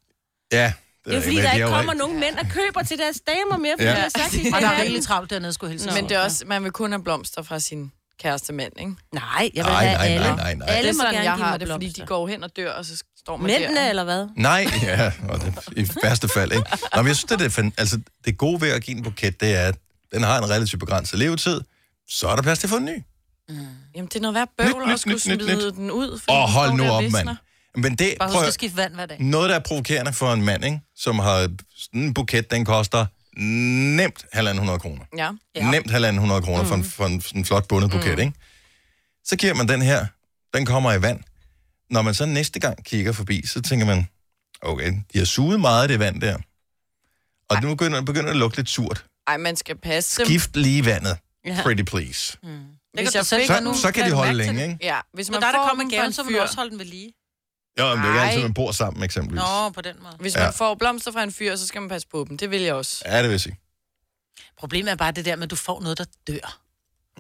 S1: Ja.
S3: Det er jo
S1: ved
S3: fordi,
S1: jeg
S3: der
S1: men de
S3: ikke
S1: er jo
S3: kommer nogen mænd og køber til deres damer mere, fordi
S1: Ja.
S3: ja. jeg har sagt, de
S4: Og
S3: skal
S4: der er
S3: have
S4: rigtig
S3: den.
S4: travlt dernede, skulle jeg hilse.
S2: Men det er også, man vil kun have blomster fra sin kæreste mand, ikke?
S3: Nej, jeg
S1: vil Nej, have nej, alle. nej, nej, nej.
S2: Alle
S1: Alle
S2: det er
S1: må
S2: sådan,
S1: gerne
S2: jeg
S1: give
S2: har
S1: mig
S2: det, fordi de går hen og dør, og så står man
S3: Mændene,
S2: der.
S3: eller hvad?
S1: Nej, ja, og det, i værste fald, ikke? Nå, men jeg synes, det, er, fan- altså, det gode ved at give en buket, det er, at den har en relativt begrænset levetid, så er der plads til at få en ny.
S2: Jamen, det er noget værd bøvl at
S1: nyt,
S2: skulle
S1: nyt, nyt,
S2: smide
S1: nyt.
S2: den ud. fordi
S1: Åh,
S2: den
S1: hold
S2: står
S1: nu
S2: der og
S1: op, mand.
S2: visner.
S1: Men det,
S4: Bare
S1: prøv,
S4: husk at
S1: at-
S4: skifte vand hver dag.
S1: noget, der er provokerende for en mand, ikke? som har sådan en buket, den koster nemt 1.500 kroner.
S2: Ja.
S1: Ja. Nemt 1.500 kroner mm. for, en, for en, sådan en flot bundet buket, mm. ikke? Så giver man den her, den kommer i vand. Når man så næste gang kigger forbi, så tænker man, okay, de har suget meget af det vand der. Og nu begynder, begynder det at lugte lidt surt.
S2: Ej, man skal passe dem.
S1: Gift lige vandet.
S2: Ja.
S1: Pretty please. Mm.
S2: Hvis
S4: du
S2: jeg
S4: selv
S2: fik-
S1: gøre nu. Så- så kan de holde
S2: Mærke til
S1: længe,
S2: det.
S1: ikke?
S2: Ja, hvis
S4: Når
S2: man
S4: der, der
S2: får
S4: kommer
S2: dem
S4: en
S2: fra
S4: gave,
S2: en
S4: så vil du
S2: fyr.
S4: også holde den ved lige.
S1: Jo, men det er ikke
S2: Ej.
S1: altid, man bor sammen, eksempelvis.
S4: Nå, på den måde.
S2: Hvis
S1: Ja.
S2: man får blomster fra en fyr, så skal man passe på dem. Det vil jeg også.
S1: Ja, det vil jeg sige.
S4: Problemet er bare det der med, at du får noget, der dør.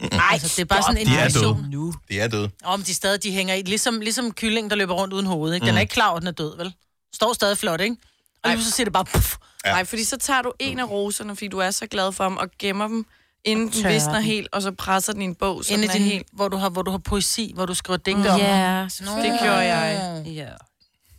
S4: Nej, altså, det er bare sådan en
S1: de er
S4: illusion.
S1: døde. Nu. De er døde.
S4: Om de stadig de hænger i, ligesom, ligesom kyllingen, der løber rundt uden hoved. Ikke? Den
S1: Mm.
S4: er ikke klar over, at den er død, vel? Står stadig flot, ikke? Og lige så siger det bare... Puff.
S2: Ja. Nej, fordi så tager du en af roserne, fordi du er så glad for dem, og gemmer dem, inden den
S4: tørrer
S2: visner
S4: den.
S2: helt, og så presser den i en bog, så
S4: Inde
S2: den
S4: i
S2: er
S4: din,
S2: helt...
S4: helt... hvor, du har, hvor du har poesi, hvor du skriver digte
S2: Mm.
S4: om.
S2: Ja,
S4: Nå.
S2: selvfølgelig. Det gjorde jeg. Ja.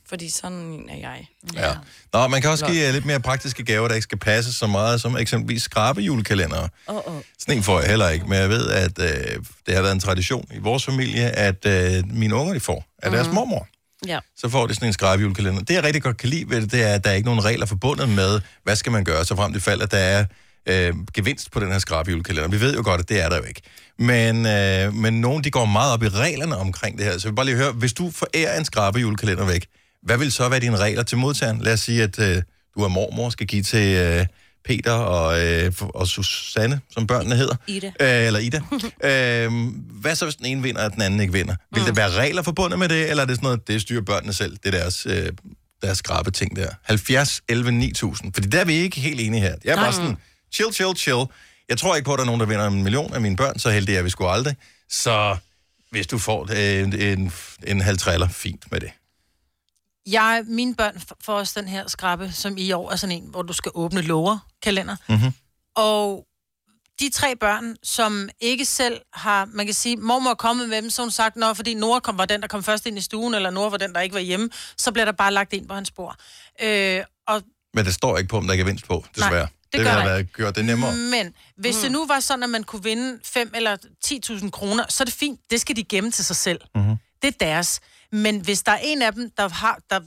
S2: Fordi sådan en er jeg.
S1: Ja. Nå, man kan også give øh, lidt mere praktiske gaver, der ikke skal passe så meget, som eksempelvis skrabejulekalendere.
S2: Oh, oh.
S1: Sådan en får jeg heller ikke, men jeg ved, at øh, det har været en tradition i vores familie, at øh, mine unger, de får af deres mormor.
S3: Ja.
S1: Så får de sådan en skrabejulekalender. Det, jeg rigtig godt kan lide ved det, det er, at der er ikke nogen regler forbundet med, hvad skal man gøre, så frem til fald, at der er øh, gevinst på den her skrabejulekalender. Vi ved jo godt, at det er der jo ikke. Men, øh, men nogen, de går meget op i reglerne omkring det her. Så jeg vil bare lige høre, hvis du forærer en skrabejulekalender væk, hvad vil så være dine regler til modtageren? Lad os sige, at øh, du er mormor, skal give til øh, Peter og, øh, og Susanne, som børnene hedder.
S3: Ida.
S1: Øh, eller Ida. øh, hvad så, hvis den ene vinder, og den anden ikke vinder? Vil mm. der være regler forbundet med det, eller er det sådan noget, det styrer børnene selv, det er deres, øh, deres skrabe ting der? 70, 11, 9000. Fordi der er vi ikke helt enige her. Jeg er bare
S18: Nej.
S1: sådan, chill, chill, chill. Jeg tror ikke på, at der er nogen, der vinder en million af mine børn, så heldig er vi sgu aldrig. Så hvis du får øh, en, en, en halv træller, fint med det.
S4: Jeg, mine børn f- får også den her skrappe, som i år er sådan en, hvor du skal åbne lover kalender.
S1: Mm-hmm.
S4: Og de tre børn, som ikke selv har, man kan sige, mormor er kommet med dem, så har hun sagt, nå, fordi Nora kom, var den, der kom først ind i stuen, eller Nora var den, der ikke var hjemme, så bliver der bare lagt ind på hans bord. Øh, og
S1: Men der står ikke på, om der er gevinst på, desværre.
S4: Nej, det gør
S1: ville
S4: der
S1: have været, gjort det nemmere.
S4: Men hvis mm. det nu var sådan, at man kunne vinde 5 eller 10.000 kroner, så er det fint. Det skal de gemme til sig selv.
S1: Mm-hmm.
S4: Det er deres. Men hvis der er en af dem, der har, der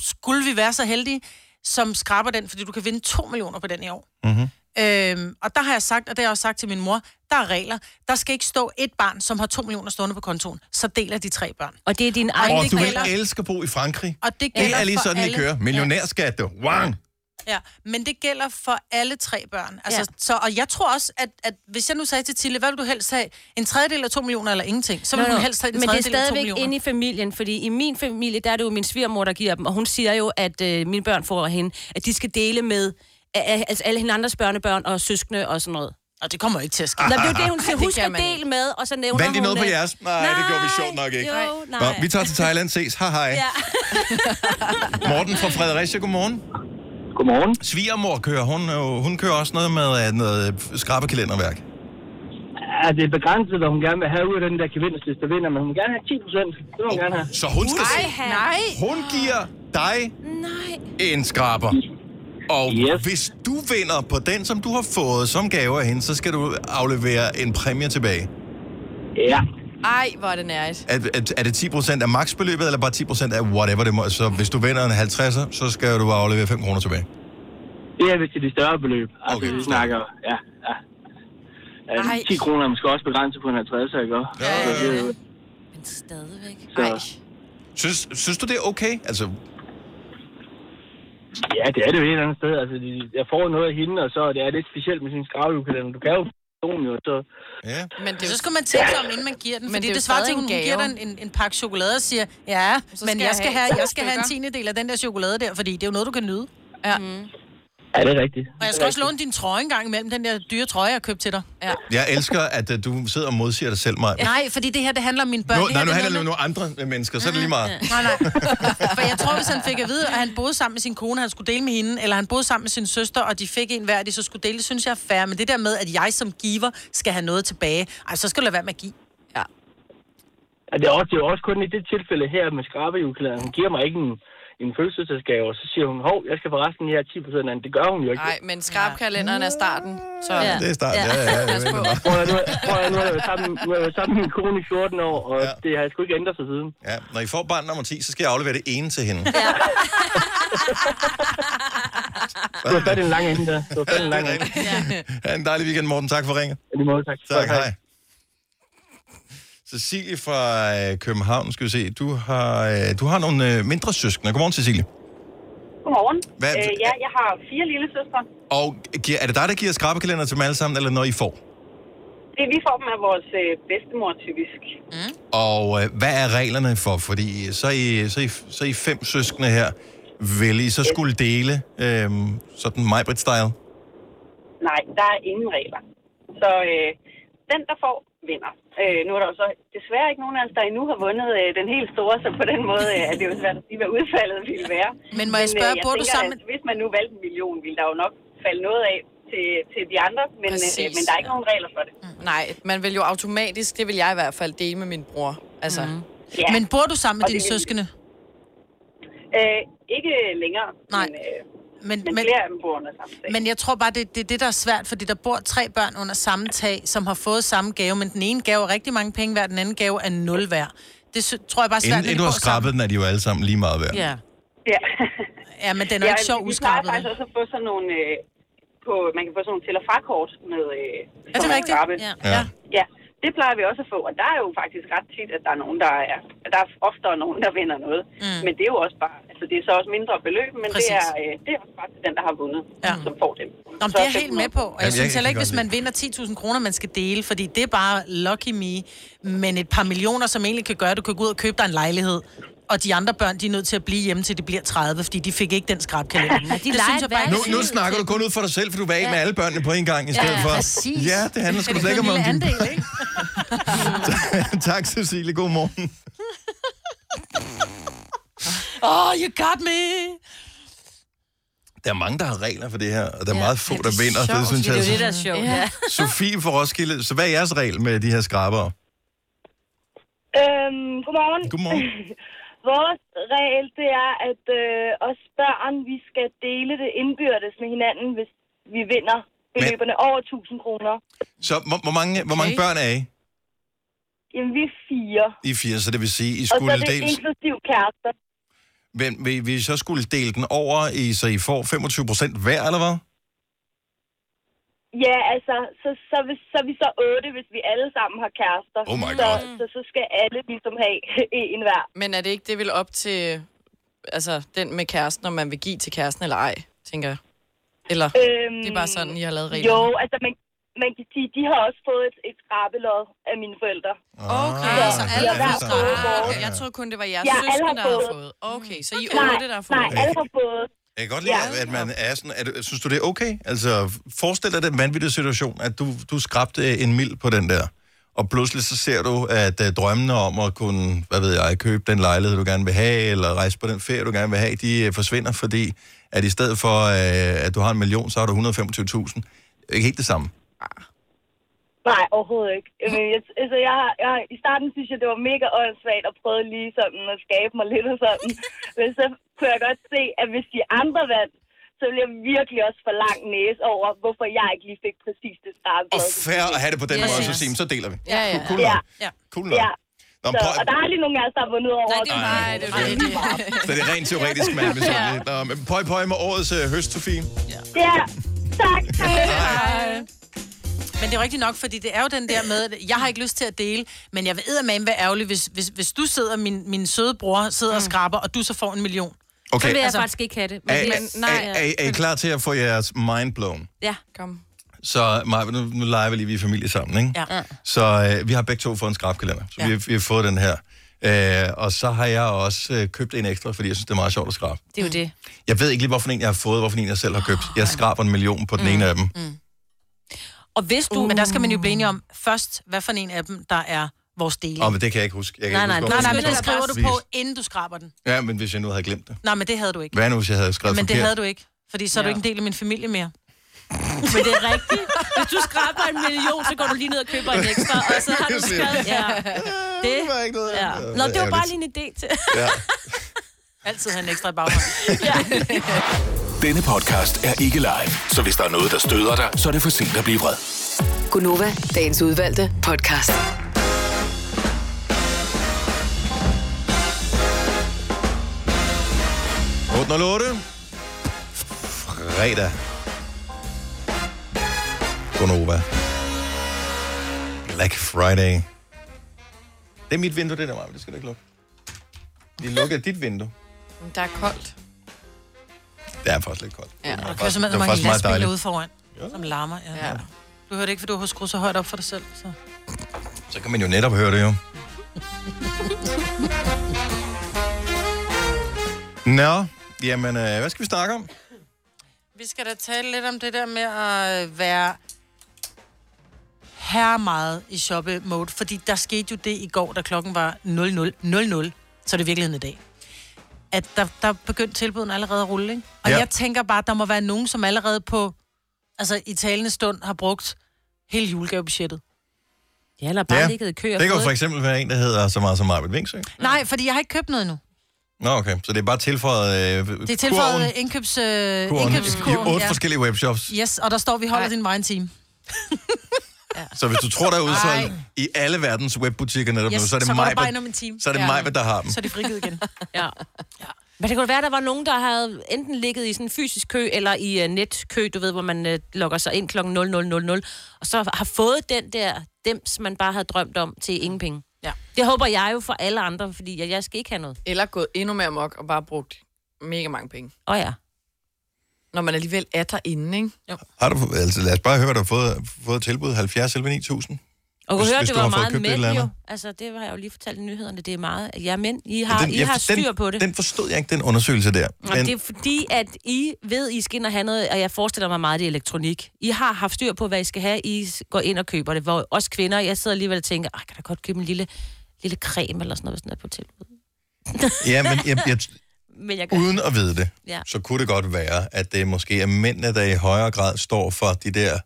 S4: skulle vi være så heldige, som skraber den, fordi du kan vinde 2 millioner på den i år.
S1: Mhm.
S14: Mm-hmm.
S4: Øhm, og der har jeg sagt, og det har jeg også sagt til min mor, der er regler. Der skal ikke stå et barn, som har 2 millioner stående på kontoen. Så deler de tre børn.
S3: Og det er din
S1: Og du vil elske at bo i Frankrig.
S4: Og det
S1: Det
S4: gælder
S1: er lige
S4: for
S1: sådan,
S4: alle.
S1: I kører.
S4: Ja.
S1: Millionærskat, du. Wow.
S4: Ja, men det gælder for alle tre børn. Altså, ja. så, og jeg tror også, at, at hvis jeg nu sagde til Tille, hvad vil du helst have? En tredjedel af to millioner eller ingenting? Så vil
S3: Nå,
S4: hun
S3: nå.
S4: helst have en
S3: Men det er
S4: tredjedel af to
S3: stadigvæk
S4: millioner.
S3: inde i familien, fordi i min familie, der er det jo min svigermor, der giver dem, og hun siger jo, at øh, mine børn får af hende, at de skal dele med a- a- altså alle hinandres børnebørn og søskende og sådan noget.
S4: Og det kommer ikke til at ske.
S3: Nå, det er jo det, hun
S4: Ej,
S3: siger.
S4: det
S3: Husk
S4: kan
S3: at
S4: man
S3: dele med, og så nævner
S1: Vandt I
S3: hun...
S1: noget på
S3: øh,
S1: jeres? Nej, det gjorde vi sjovt nok ikke.
S3: Jo, nej.
S1: Nå, vi tager til Thailand, ses. Hej hej. Morten fra Fredericia, godmorgen.
S19: Godmorgen.
S1: Svigermor kører, hun, er jo- hun kører også noget med øh, noget skrabbekalenderværk.
S19: Ja, det er begrænset, hvad hun gerne vil have ud af den der gevinst, hvis der vinder, men hun vil gerne have 10 procent. Det vil hun gerne have.
S1: Så hun skal
S19: Nej,
S1: nej. Hun giver dig en skraber. Og yes. hvis du vinder på den, som du har fået som gave af hende, så skal du aflevere en præmie tilbage.
S19: Ja.
S2: Ej, hvor er det nært.
S1: Er, er, er det 10% af maksbeløbet, eller bare 10% af whatever det må? Så hvis du vinder en 50'er, så skal du aflevere 5 kroner tilbage.
S19: Det er vist til de større beløb. Altså, okay, vi snakker, ja, ja.
S2: Ej.
S19: ja 10 kroner er måske også begrænset på en 50, ikke? også?
S1: Ja,
S19: Så det er jo-
S3: Men stadigvæk.
S19: Så,
S1: Synes, synes du, det er okay? Altså,
S19: ja, det er det jo et eller andet sted. Altså, de- jeg får noget af hende, og så er det er lidt specielt med sin skravejukalender. Du kan jo personen jo, så...
S1: Ja.
S4: Men det, så skal man tænke sig om, inden man giver den.
S19: Men
S4: Men fordi
S19: det
S4: det,
S19: er jo
S4: det svarer til,
S19: stadig
S4: at hun
S19: en
S4: hun giver dig
S19: gave.
S4: en, en, en pakke chokolade og siger, ja,
S19: skal
S4: men
S19: jeg
S4: jeg skal,
S19: have
S4: have,
S19: to
S4: jeg skal have en
S19: stykker."
S4: tiendedel af den der chokolade der, fordi det er jo noget, du kan nyde. Ja. Mm.
S19: Ja, det er rigtigt.
S4: Og jeg skal også låne din trøje en gang imellem, den der dyre trøje, jeg købte til dig. Ja.
S1: jeg elsker, at øh, du sidder og modsiger dig selv, Maja.
S4: Nej, fordi det her, det handler om mine børn.
S1: Nu,
S4: Det her,
S1: nej, nu
S4: det
S1: handler det om nogle andre mennesker, så er det lige meget.
S4: Nej, nej. For jeg tror, hvis han fik at vide, at han boede sammen med sin kone, han skulle dele med hende, eller han boede sammen med sin søster, og de fik en hver, de så skulle dele, det synes jeg er fair. Men det der med, at jeg som giver skal have noget tilbage, ej, så skal du lade være med at give. Ja.
S19: Ja, det, er også, det er jo også kun i det tilfælde her med skrabejukalenderen. Hun giver mig ikke en, en fødselsdagsgave, og så siger hun, hov, jeg skal forresten her 10 procent af den. Det gør hun jo ikke.
S2: Nej, men skrabkalenderen er starten. Så...
S19: Ja. Det er starten, ja, ja, ja, jeg
S2: Pas på.
S19: Prøv at, høre, nu, prøv at, høre, nu har jeg været sammen, nu har jeg været sammen med min øh, kone i 14 år, og ja. det har jeg sgu ikke ændret sig siden.
S1: Ja, når I får barn nummer 10, så skal jeg aflevere det ene til hende.
S19: Det var fat i en lang ende der. Det var fat i en lang ende.
S1: Ha' en dejlig weekend, Morten. Tak for ringet.
S19: Ja, lige måde, tak.
S1: Tak, hej. Cecilie fra øh, København, skal vi se. Du har, øh, du har nogle øh, mindre søskende. Godmorgen, Cecilie.
S12: Godmorgen.
S1: Hvad-
S12: Øh, ja, jeg har fire lille søstre.
S1: Og giver, er det dig, der giver skrabekalender til dem alle sammen, eller når I får?
S12: Det vi får dem af vores øh, bedstemor typisk. Mm.
S1: Og øh, hvad er reglerne for? Fordi så er I, så er I, så er I fem søskende her. Vil I så skulle dele øh, sådan Majbrit-style?
S12: Nej, der er ingen regler. Så øh, den, der får
S18: vinder. Øh, nu er der jo så desværre ikke nogen af os, der endnu har vundet øh, den helt store, så på den måde øh, er det jo svært at sige, hvad udfaldet ville være. øh,
S4: Men må jeg spørge, bor du
S18: tænker,
S4: sammen
S18: At, hvis man nu valgte en million, ville der jo nok falde noget af til, til de andre, men, øh,
S2: Præcis,
S18: men der er ikke nogen regler for det.
S2: Nej, man vil jo automatisk, det vil jeg i hvert fald dele med min bror. Altså. Mm.
S18: Ja.
S4: Men bor du sammen med
S2: Og
S4: dine
S2: det vil-
S4: søskende?
S18: Øh, ikke længere, Nej. men, øh,
S4: men,
S18: men, flere af dem bor under samme tag.
S4: Men jeg tror bare, det, det er det, der er svært, fordi der bor tre børn under samme tag, som har fået samme gave, men den ene gave er rigtig mange penge værd, den anden gave er nul værd. Det sy- tror jeg bare er svært,
S1: Inden,
S4: når de
S1: inden du har
S4: bor sammen.
S1: skrabet den, er de jo alle sammen lige meget værd.
S4: Ja.
S18: Ja.
S4: ja, men den er jo ikke så
S18: vi plejer
S4: uskrabet.
S18: faktisk også at få sådan nogle, øh, på, man kan få sådan nogle til- og frakort med øh,
S4: Er det rigtigt? Ja.
S1: Ja.
S18: Ja, det plejer vi også at få, og der er jo faktisk ret tit, at der er nogen, der er, at der er oftere nogen, der vinder noget.
S4: Mm.
S18: Mm. Men det er jo også bare, altså det er så også mindre beløb, men det
S4: Præcis.
S18: er, øh, det er også bare til den, der har vundet, ja. som får dem.
S4: Nå, men det er jeg helt med på, og jeg
S18: Jamen,
S4: synes
S18: jeg
S4: heller
S18: kan
S4: ikke,
S18: godt
S4: hvis man vinder 10.000 kroner, man skal dele, fordi det er bare lucky me. Men et par millioner, som egentlig kan gøre, at du kan gå ud og købe dig en lejlighed, og de andre børn, de er nødt til at blive hjemme, til de bliver 30, fordi de fik ikke den skrabkalender. Ja,
S3: de leger et
S1: Nu, nu snakker du kun ud for dig selv, for du var af
S4: Ja.
S1: med alle børnene på en gang i stedet
S4: Ja,
S1: for.
S4: præcis.
S1: Ja, det handler
S4: Er
S1: sgu
S4: det
S1: slet ikke
S4: kun
S1: om
S4: en
S1: din...
S4: lille
S1: tak, Cecilie. God morgen.
S4: Oh, you got me!
S1: Der er mange, der har regler for det her, og der er
S4: Ja.
S1: meget få,
S4: Ja,
S1: der
S4: det er
S1: vinder.
S4: sjovt.
S1: Det synes
S4: Det er
S1: jeg altså.
S4: jo det, der er sjovt, ja.
S1: Sofie fra Roskilde, så hvad er jeres regel med de her skrabere?
S20: Øhm, godmorgen.
S1: Godmorgen.
S20: Vores regel, det er, at øh, os børn, vi skal dele det indbyrdes med hinanden, hvis vi vinder beløberne Men... over 1000 kroner.
S1: Så hvor, hvor, mange, hvor mange børn er I?
S20: Jamen, vi er fire.
S1: I er fire, så det vil sige, I
S20: og så
S1: skulle
S20: er det
S1: dels...
S20: inklusiv kærester.
S1: Men vi, vi så skulle dele den over, i, så I får 25 procent hver, eller hvad?
S20: Ja, altså, så, så, hvis, så er vi så otte, hvis vi alle sammen har kærester.
S1: Oh my
S20: så,
S1: God.
S20: så, så skal alle ligesom have en hver.
S2: Men er det ikke det vil op til altså, den med kæresten, om man vil give til kæresten eller ej, tænker jeg? Eller
S20: øhm,
S2: det er bare sådan, I har lavet regler?
S20: Jo, altså, man, man kan sige, de har også fået et, et skrabelod af mine forældre.
S2: Okay,
S20: så,
S2: så
S20: vi
S2: alle
S20: har hver
S2: har
S20: fået
S2: fået.
S20: vores.
S2: Ah, Jeg troede kun, det var jeres
S20: altså, Ja, alle
S2: søskende,
S20: har
S2: der havde
S20: fået.
S2: fået. Okay, så I er
S20: Nej,
S2: otte, der har fået.
S20: nej, alle har fået.
S1: Jeg kan godt lide, ja. at man er sådan... At, synes du, det er okay? Altså, forestil dig den vanvittige situation, at du, du skrabte øh, en mil på den der, og pludselig så ser du, at uh, drømmene om at kunne, hvad ved jeg, købe den lejlighed, du gerne vil have, eller rejse på den ferie, du gerne vil have, de uh, forsvinder, fordi at i stedet for, uh, at du har en million, så har du 125.000. Ikke helt det samme.
S20: Nej, overhovedet ikke. Jamen, jeg, altså, jeg, har- jeg, har- I starten synes jeg, det var mega åndssvagt at prøve lige sådan at skabe mig lidt og sådan. Men så kunne jeg godt se, at hvis de andre vandt, så ville jeg virkelig også for lang næse over, hvorfor jeg ikke lige fik præcis det skarpe.
S1: Og fair at have det på den
S20: Yes.
S1: yes. måde, så sige, "Men så deler vi.
S20: Ja, ja.
S1: Cool nok.
S20: Ja.
S1: Cool nok.
S20: Ja.
S1: Nå, men
S20: Så,
S1: prøv-
S20: og der er lige nogen af os, der har vundet over. Nej,
S1: det er- Nej, det er det. Så det er rent teoretisk, man er misundelig. Nå, men pøj, pøj med årets øh, høst, Sofie.
S20: Ja, tak.
S4: Hej. Men det er rigtigt nok, fordi det er jo den der med, at jeg har ikke lyst til at dele, men jeg ved, at man være ærgerlig, hvis, hvis, hvis du sidder, min, min søde bror sidder og skraber, og du så får en million.
S1: Okay.
S4: Mm. Så vil jeg
S1: Altså,
S4: faktisk ikke have det.
S1: Er, er, er, er I klar til at få jeres mind blown?
S3: Ja.
S2: Kom.
S1: Så Maja, nu, nu leger vi lige, vi er familie sammen, ikke?
S4: Ja.
S1: Så øh, vi har begge to fået en skrabkalender, så ja. vi, har- vi har fået den her. Øh, og så har jeg også øh, købt en ekstra, fordi jeg synes, det er meget sjovt at skrabe.
S3: Det er
S4: Mm.
S3: jo det.
S1: Jeg ved ikke lige, hvorfor en jeg har fået, hvorfor en jeg selv har købt. Jeg skraber en million
S4: Mm.
S1: på den ene af dem.
S4: Og hvis du... Uh. Men der skal man jo blive enige
S3: Mm.
S4: om først, hvad for en af dem, der er vores dele.
S1: Åh, men det kan jeg ikke huske. Jeg kan
S4: nej, nej,
S1: ikke
S4: nej,
S1: huske,
S4: nej, nej,
S1: hvorfor
S4: men
S1: den
S4: det
S1: er
S4: skriver du
S1: blevet
S4: på,
S1: vist.
S4: inden du skraber den.
S1: Ja, men hvis jeg nu havde glemt det.
S4: Nej, men det havde du ikke.
S1: Hvad nu, hvis jeg havde skrevet
S4: Men det
S1: forkert?
S4: havde du ikke, fordi så er du
S1: Ja.
S4: ikke en del af min familie mere.
S3: Men det er rigtigt. Hvis du skraber en million, så går du lige ned og køber en ekstra, og så har du
S4: Præcis.
S3: skrevet. Ja.
S1: Det var ikke noget.
S3: Ja.
S1: Det
S3: Nå,
S1: var
S3: det var bare
S1: ærgerligt.
S3: lige en idé til.
S1: Ja.
S4: Altid have en ekstra i baghånden.
S21: Denne podcast er ikke live, så hvis der er noget, der støder dig, så er det for sent at blive vred.
S6: Gunova, dagens udvalgte podcast.
S1: du... 808. Fredag. Gonova. Black Friday. Det er mit vindue, det der, Maja, men det skal du ikke lukke. Vi lukker dit vindue.
S2: Men Der er koldt.
S1: Det er faktisk lidt koldt.
S4: Ja,
S1: Det
S4: der
S1: var
S4: kører
S1: faktisk-
S4: simpelthen
S1: det var
S4: mange
S1: faktisk meget
S4: lastbiler
S1: dejligt.
S4: ude foran, som larmer. Ja. ja. Du hørte ikke, for du har skruet så højt op for dig selv. Så.
S1: Så kan man jo netop høre det jo. Nå, jamen, øh, hvad skal vi snakke om?
S4: øh, Vi skal da tale lidt om det der med at være herre meget i shoppe-mode, fordi der skete jo det i går, da klokken var 00.00, 00, så er det virkeligheden i dag. At der, der begyndte tilbuden allerede at rulle, ikke? Og
S14: Ja.
S4: ja. jeg tænker bare, at der må være nogen, som allerede på, altså i talende stund, har brugt hele julegavebudgettet.
S3: Ja, eller
S1: Ja, det kunne for eksempel være en, der hedder så meget som Arvid Vingsø.
S4: Nej, fordi jeg har ikke købt noget endnu.
S1: Nå, okay. Så det er bare tilføjet øh,
S4: Det er tilføjet
S1: kurven,
S4: indkøbs, øh,
S1: kurven i
S4: indkøbskurven.
S1: otte forskellige webshops.
S4: Yes, og der står, vi holder din vej en time.
S1: Så hvis du tror, der er udsolgt
S4: Ej.
S1: i alle verdens webbutikker netop
S4: Yes,
S1: nu, så er det
S4: så går der
S1: mig,
S4: bare ind om en time.
S1: så er det
S3: Ja.
S1: mig, der har dem.
S4: Så er det frigivet igen.
S3: ja. Men det kunne være, at der var nogen, der havde enten ligget i sådan en fysisk kø, eller i uh, netkø, du ved, hvor man uh, logger sig ind kl. 00.00, og så har fået den der dems, man bare havde drømt om til ingen penge.
S2: Ja.
S3: Det håber jeg jo for alle andre, fordi jeg, jeg skal ikke have noget.
S2: Eller gået endnu mere mok og bare brugt mega mange penge.
S3: Åh oh, ja.
S2: Når man alligevel er derinde, ikke? Jo.
S1: Har du, altså, lad os bare høre, hvad du har fået, fået tilbud. 70 11 9000.
S3: Og
S1: Hvis-
S3: kunne høre,
S1: hvis
S3: det
S1: du
S3: var
S1: har fået
S3: meget
S1: købt et
S3: mænd
S1: eller andet.
S3: jo. Altså, det har jeg jo lige fortalt i nyhederne, det er meget. Ja, men I har, den, I har
S1: den,
S3: styr på det.
S1: Den forstod jeg ikke, den undersøgelse der.
S3: Nå, men... det er fordi, at I ved, I skal ind og have noget, og jeg forestiller mig meget, det er elektronik. I har haft styr på, hvad I skal have. I s- går ind og køber det. Hvor os kvinder, jeg sidder alligevel og tænker, "Ej, kan da godt købe en lille, lille creme eller sådan noget, hvis den er på tilbud.
S1: Ja, men jeg, jeg,
S3: Men jeg gør
S1: uden at vide det,
S3: Ja.
S1: så kunne det godt være, at det måske er mændene, der i højere grad står for de der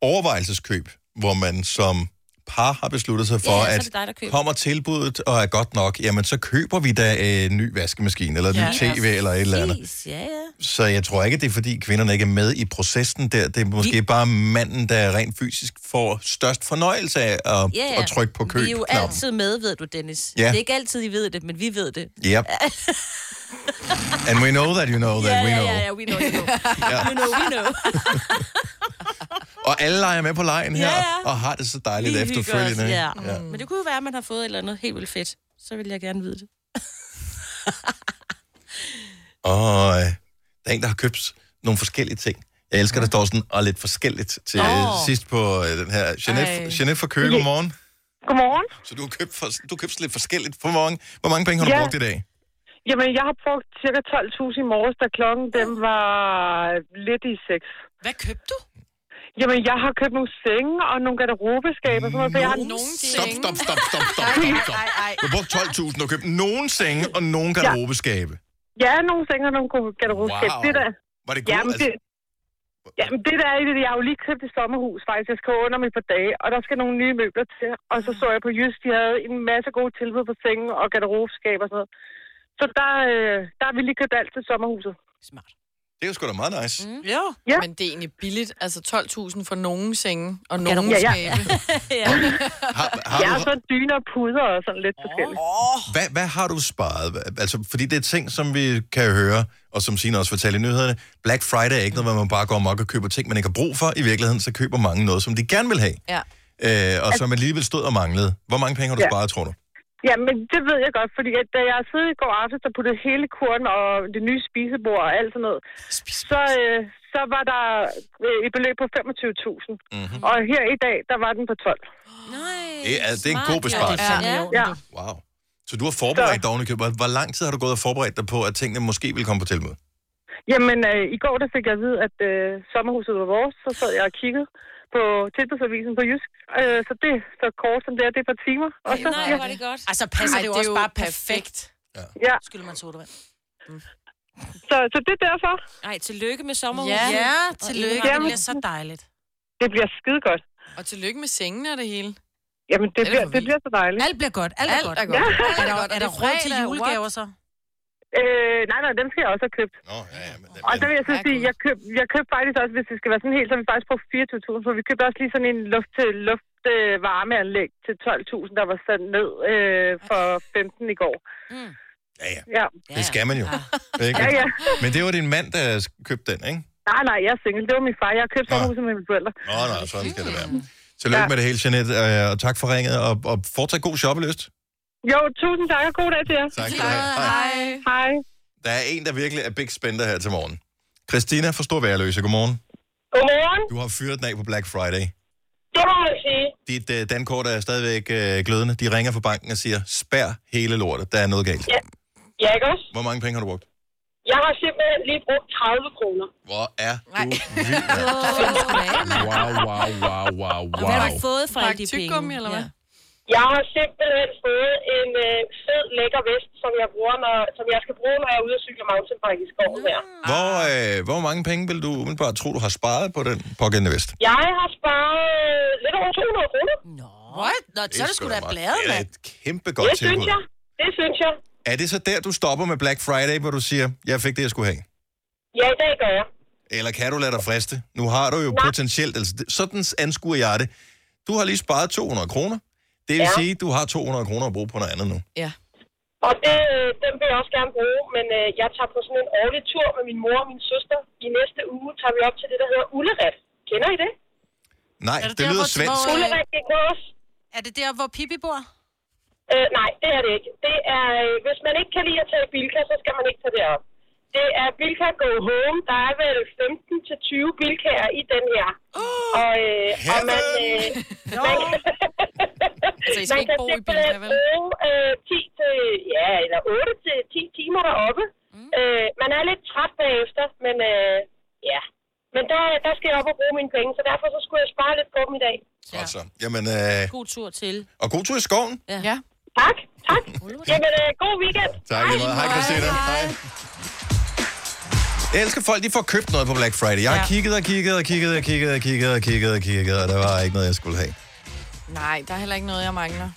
S1: overvejelseskøb, hvor man som par har besluttet sig for,
S3: Ja, så er
S1: at
S3: det dig, der køber.
S1: kommer tilbuddet og er godt nok, jamen så køber vi da øh, en ny vaskemaskine, eller en
S3: Ja,
S1: ny tv, eller et eller andet.
S3: Præcis, Ja, ja.
S1: Så jeg tror ikke, det er fordi kvinderne ikke er med i processen der. Det er måske
S3: Vi-
S1: bare manden, der rent fysisk får størst fornøjelse af at,
S3: Ja, ja.
S1: at trykke på køb.
S3: Vi er jo altid med, ved du, Dennis.
S1: Ja.
S3: Ja. Det er ikke altid, I ved det, men vi ved det.
S1: Yep. And we know that you know that we
S3: ja,
S1: know.
S3: ja, ja, we know, we know.
S1: Ja.
S3: We know, we know.
S1: Og alle leger med på lejen her,
S3: Ja, ja.
S1: og har det så dejligt
S3: Vi hygger os,
S1: efterfølgende.
S3: Ja.
S1: Ja.
S3: ja. Men det kunne jo være, at man har fået et eller andet helt vildt fedt. Så vil jeg gerne vide det.
S1: Og øh, der er en, der har købt nogle forskellige ting. Jeg elsker, der står sådan, og lidt forskelligt til oh.
S14: Åh.
S1: sidst på øh, den her.
S14: Ej.
S1: Jeanette, Jeanette fra Køge,
S14: Ja.
S1: godmorgen.
S10: Godmorgen.
S1: Så du har købt, for, du har købt sådan lidt forskelligt på morgen. Hvor mange penge har du
S10: Ja.
S1: brugt i dag?
S10: Jamen, jeg har brugt cirka 12.000 i morges, da klokken dem var lidt i 6.
S4: Hvad købte du?
S10: Jamen, jeg har købt nogle senge og nogle garderobeskaber. Sådan noget, for jeg
S4: Mm,
S10: har
S1: Stop, stop, stop, stop, stop, stop, stop. Du har brugt 12.000 og købt nogen senge og nogen garderobeskabe.
S10: Ja, nogle senge og nogle garderobeskaber.
S1: Wow.
S10: Wow. Det der.
S1: Var det Altså- god-
S10: Jamen, det, jamen, det der er i det, jeg har jo lige købt et sommerhus, faktisk. Jeg skal under mig et par dage, og der skal nogle nye møbler til. Og
S4: Mm.
S10: så så jeg på Jysk, de havde en masse gode tilbud på senge og garderobeskaber og sådan noget. Så der, øh, der har vi lige købt alt til sommerhuset.
S1: Det er jo sgu da meget nice.
S2: Mm.
S4: Jo.
S10: Ja.
S2: Men det er egentlig billigt. Altså 12.000 for nogen senge og
S10: Ja,
S2: nogen
S10: ja,
S2: ja,
S10: ja.
S2: ja. skabe.
S1: Har
S10: jeg
S1: du-
S10: har så dyner og puder og sådan lidt forskelligt.
S1: Hvad, hvad har du sparet? Hva- Altså, fordi det er ting, som vi kan høre, og som Signe også fortalte i nyhederne. Black Friday er ikke noget, hvor man bare går amok og køber ting, man ikke har brug for. I virkeligheden, så køber mange noget, som de gerne vil have,
S2: Ja.
S1: øh, og som alligevel stod og manglede. Hvor mange penge har du
S10: Ja.
S1: sparet, tror du?
S10: Ja, men det ved jeg godt, fordi at da jeg sidder i går aftes og puttede hele kurven og det nye spisebord og alt sådan noget, så, øh, så var der øh, et beløb på 25.000.
S1: Mhm.
S10: Mm-hmm. Og her i dag, der var den på 12.
S1: Det er, det er en god besparelse.
S10: Ja. ja.
S1: Wow. Så du har forberedt dig ovenikøbet. Hvor- Hvor lang tid har du gået og forberedt dig på, at tingene måske vil komme på tilbud?
S10: Jamen, øh, i går der fik jeg at vide, at øh, sommerhuset var vores, så sad jeg og kiggede på tilbudsavisen på Jysk. Øh, så det er så kort som det er, det er et par timer. Og så,
S4: Nej,
S10: ja.
S4: var det godt. Altså, passer
S10: Ej,
S4: Ej, det jo
S10: det er
S4: også
S10: jo
S4: bare perfekt.
S10: Ja.
S4: Skylder man sodavand.
S10: Så, så det er derfor.
S3: Nej, tillykke med sommerhuset.
S2: Ja,
S4: Ja,
S2: ja
S4: tillykke. Det bliver så dejligt.
S10: Det bliver skide godt.
S2: Og tillykke med sengene og det hele.
S10: Jamen, det,
S2: er
S10: bliver,
S2: for
S10: det bliver så dejligt.
S4: Alt bliver godt. Alt,
S2: Alt
S4: godt.
S2: er godt.
S10: Ja.
S2: Alt
S4: Er der,
S2: godt. Og
S4: er
S2: det
S4: der råd til
S2: fredag,
S4: julegaver
S2: what?
S4: så?
S10: Øh, nej, nej, dem skal jeg også have købt.
S1: Nå, ja, ja, men,
S10: og så vil jeg så sige, jeg køb, jeg købte faktisk også, hvis det skal være sådan helt, så har vi faktisk brugt 24.000, for vi købte også lige sådan en luft til luft øh, varmeanlæg til 12.000, der var sat ned øh, for 15 i går.
S3: Mm.
S1: Ja, ja.
S10: ja.
S1: Det skal man jo. Ikke?
S10: Ja, ja.
S1: Men det var din mand, der s- købte den, ikke?
S10: Nej, nej, jeg er single. Det var min far. Jeg har købt sommerhuset med mine forældre.
S1: Nå, nej, sådan skal det være. Tillykke ja. med det hele, Jeanette, øh, og tak for ringet, og, og fortsat god shoppelyst.
S10: Jo, tusind tak og god dag til jer.
S1: Tak skal du have. Hej.
S10: Hej. Hej.
S1: Der er en, der virkelig er big spender her til morgen. Christina fra Stor Værløse, godmorgen.
S10: Godmorgen.
S1: Du har fyret den af på Black Friday.
S10: Det må man sige.
S1: Dit øh, dankort er stadigvæk øh, glødende. De ringer fra banken og siger, spær hele lortet, der er noget galt.
S10: Ja, ikke også?
S1: Hvor mange penge har du brugt?
S10: Jeg har simpelthen lige brugt 30 kroner.
S1: Hvor er
S10: Nej.
S1: Wow, wow, wow, wow, wow.
S10: fået
S2: fra alle de penge? Tyggegummi, eller hvad?
S10: Jeg har simpelthen fået en øh, fed, lækker vest, som jeg, bruger, når, som jeg skal bruge, når jeg er ude og cykle mountainbike i skoven her.
S1: Hvor, øh, hvor mange penge vil du umiddelbart tro, du har sparet på den pågældende vest?
S10: Jeg har sparet øh, lidt over 200 kroner. Nå,
S4: What? Nå, så er det sgu da bladet,
S1: Det er
S4: mand.
S1: et kæmpe godt
S10: det
S1: tilbud.
S10: synes jeg. Det synes jeg.
S1: Er det så der, du stopper med Black Friday, hvor du siger, jeg fik det, jeg skulle have?
S10: Ja, det gør jeg.
S1: Eller kan du lade dig friste? Nu har du jo Nej. potentielt, altså det- sådan anskuer jeg det. Du har lige sparet 200 kroner. Det vil ja.
S10: Ja.
S1: sige, du har 200 kroner at bruge på noget andet nu.
S2: Ja.
S10: Og det, øh, den vil jeg også gerne bruge, men øh, jeg tager på sådan en årlig tur med min mor og min søster. I næste uge tager vi op til det, der hedder Ulleret. Kender I det?
S1: Nej, det, det lyder svensk.
S10: Ulleret, det er også.
S4: Er det der, hvor Pippi bor?
S10: Øh, nej, det er det ikke. Det er, øh, hvis man ikke kan lide at tage Bilka, så skal man ikke tage det op. Det er Bilka Go Home. Der er vel 15-20 Bilkaer i den her. og, øh, og man, øh, man, kan,
S2: Altså, I skal
S10: man
S2: ikke
S10: kan
S2: bo i
S10: simpelthen
S2: Bilka, vel?
S10: bruge øh, 10 til, ja, eller 8 til 10 timer deroppe. Mm. Øh, man er lidt træt bagefter, men øh, ja. Men der, der skal jeg op og bruge mine penge, så derfor så skulle jeg spare lidt på dem i dag.
S1: Godt så. Jamen, øh,
S3: God tur til.
S1: og god tur i skoven.
S3: Ja.
S2: ja.
S10: Tak, tak. Jamen, øh, god weekend.
S1: Tak lige meget. Hej, Christina. Hej. Jeg elsker folk, de får købt noget på Black Friday. Jeg har
S2: Ja.
S1: ja. kigget og kigget og kigget og kigget og kigget og kigget og kigget, og der var ikke noget, jeg skulle have.
S2: Nej, der er heller ikke noget, jeg mangler.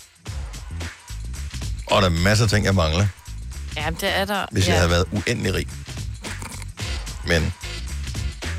S1: Og der er masser af ting, jeg mangler,
S2: Ja, det er der.
S1: hvis ja.
S2: ja.
S1: jeg havde været uendelig rig. Men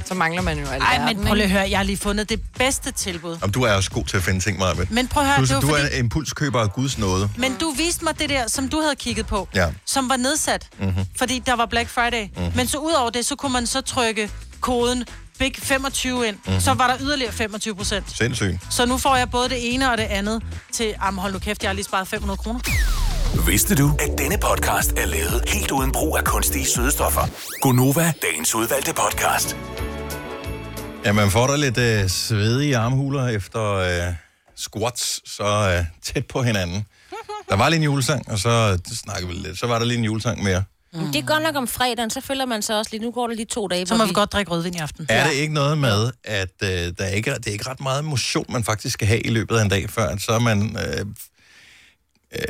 S2: Så mangler man jo alt.
S4: Nej, men prøv lige at høre, jeg har lige fundet det bedste tilbud.
S1: om du er også god til at finde ting, Marvind.
S4: Men prøv at høre,
S1: du,
S4: det var
S1: du
S4: fordi-
S1: er en impulskøber af Guds nåde.
S4: Men du viste mig det der, som du havde kigget på,
S1: Ja.
S4: som var nedsat,
S1: Mhm.
S4: fordi der var Black Friday.
S1: Mhm.
S4: Men så ud over det, så kunne man så trykke koden BIG25 ind.
S1: Mhm.
S4: Så var der yderligere 25 procent.
S1: Sindssygt.
S4: Så nu får jeg både det ene og det andet til, am hold nu kæft, jeg har lige sparet 500 kroner.
S21: Vidste du, at denne podcast er lavet helt uden brug af kunstige sødestoffer? Gonova, dagens udvalgte podcast.
S1: Ja, man får da lidt øh, svedige armhuler efter øh, squats, så øh, tæt på hinanden. Der var lige en julesang, og så øh, snakkede vi lidt. Så var der lige en julesang mere.
S3: Mm. Det er godt nok om fredagen, så føler man sig også lige, nu går der lige to dage.
S4: Så må vi godt drikke rødvin i aften.
S1: Er det ikke noget med, at øh, der er ikke, det er ikke ret meget motion, man faktisk skal have i løbet af en dag, før at så er man, øh, øh,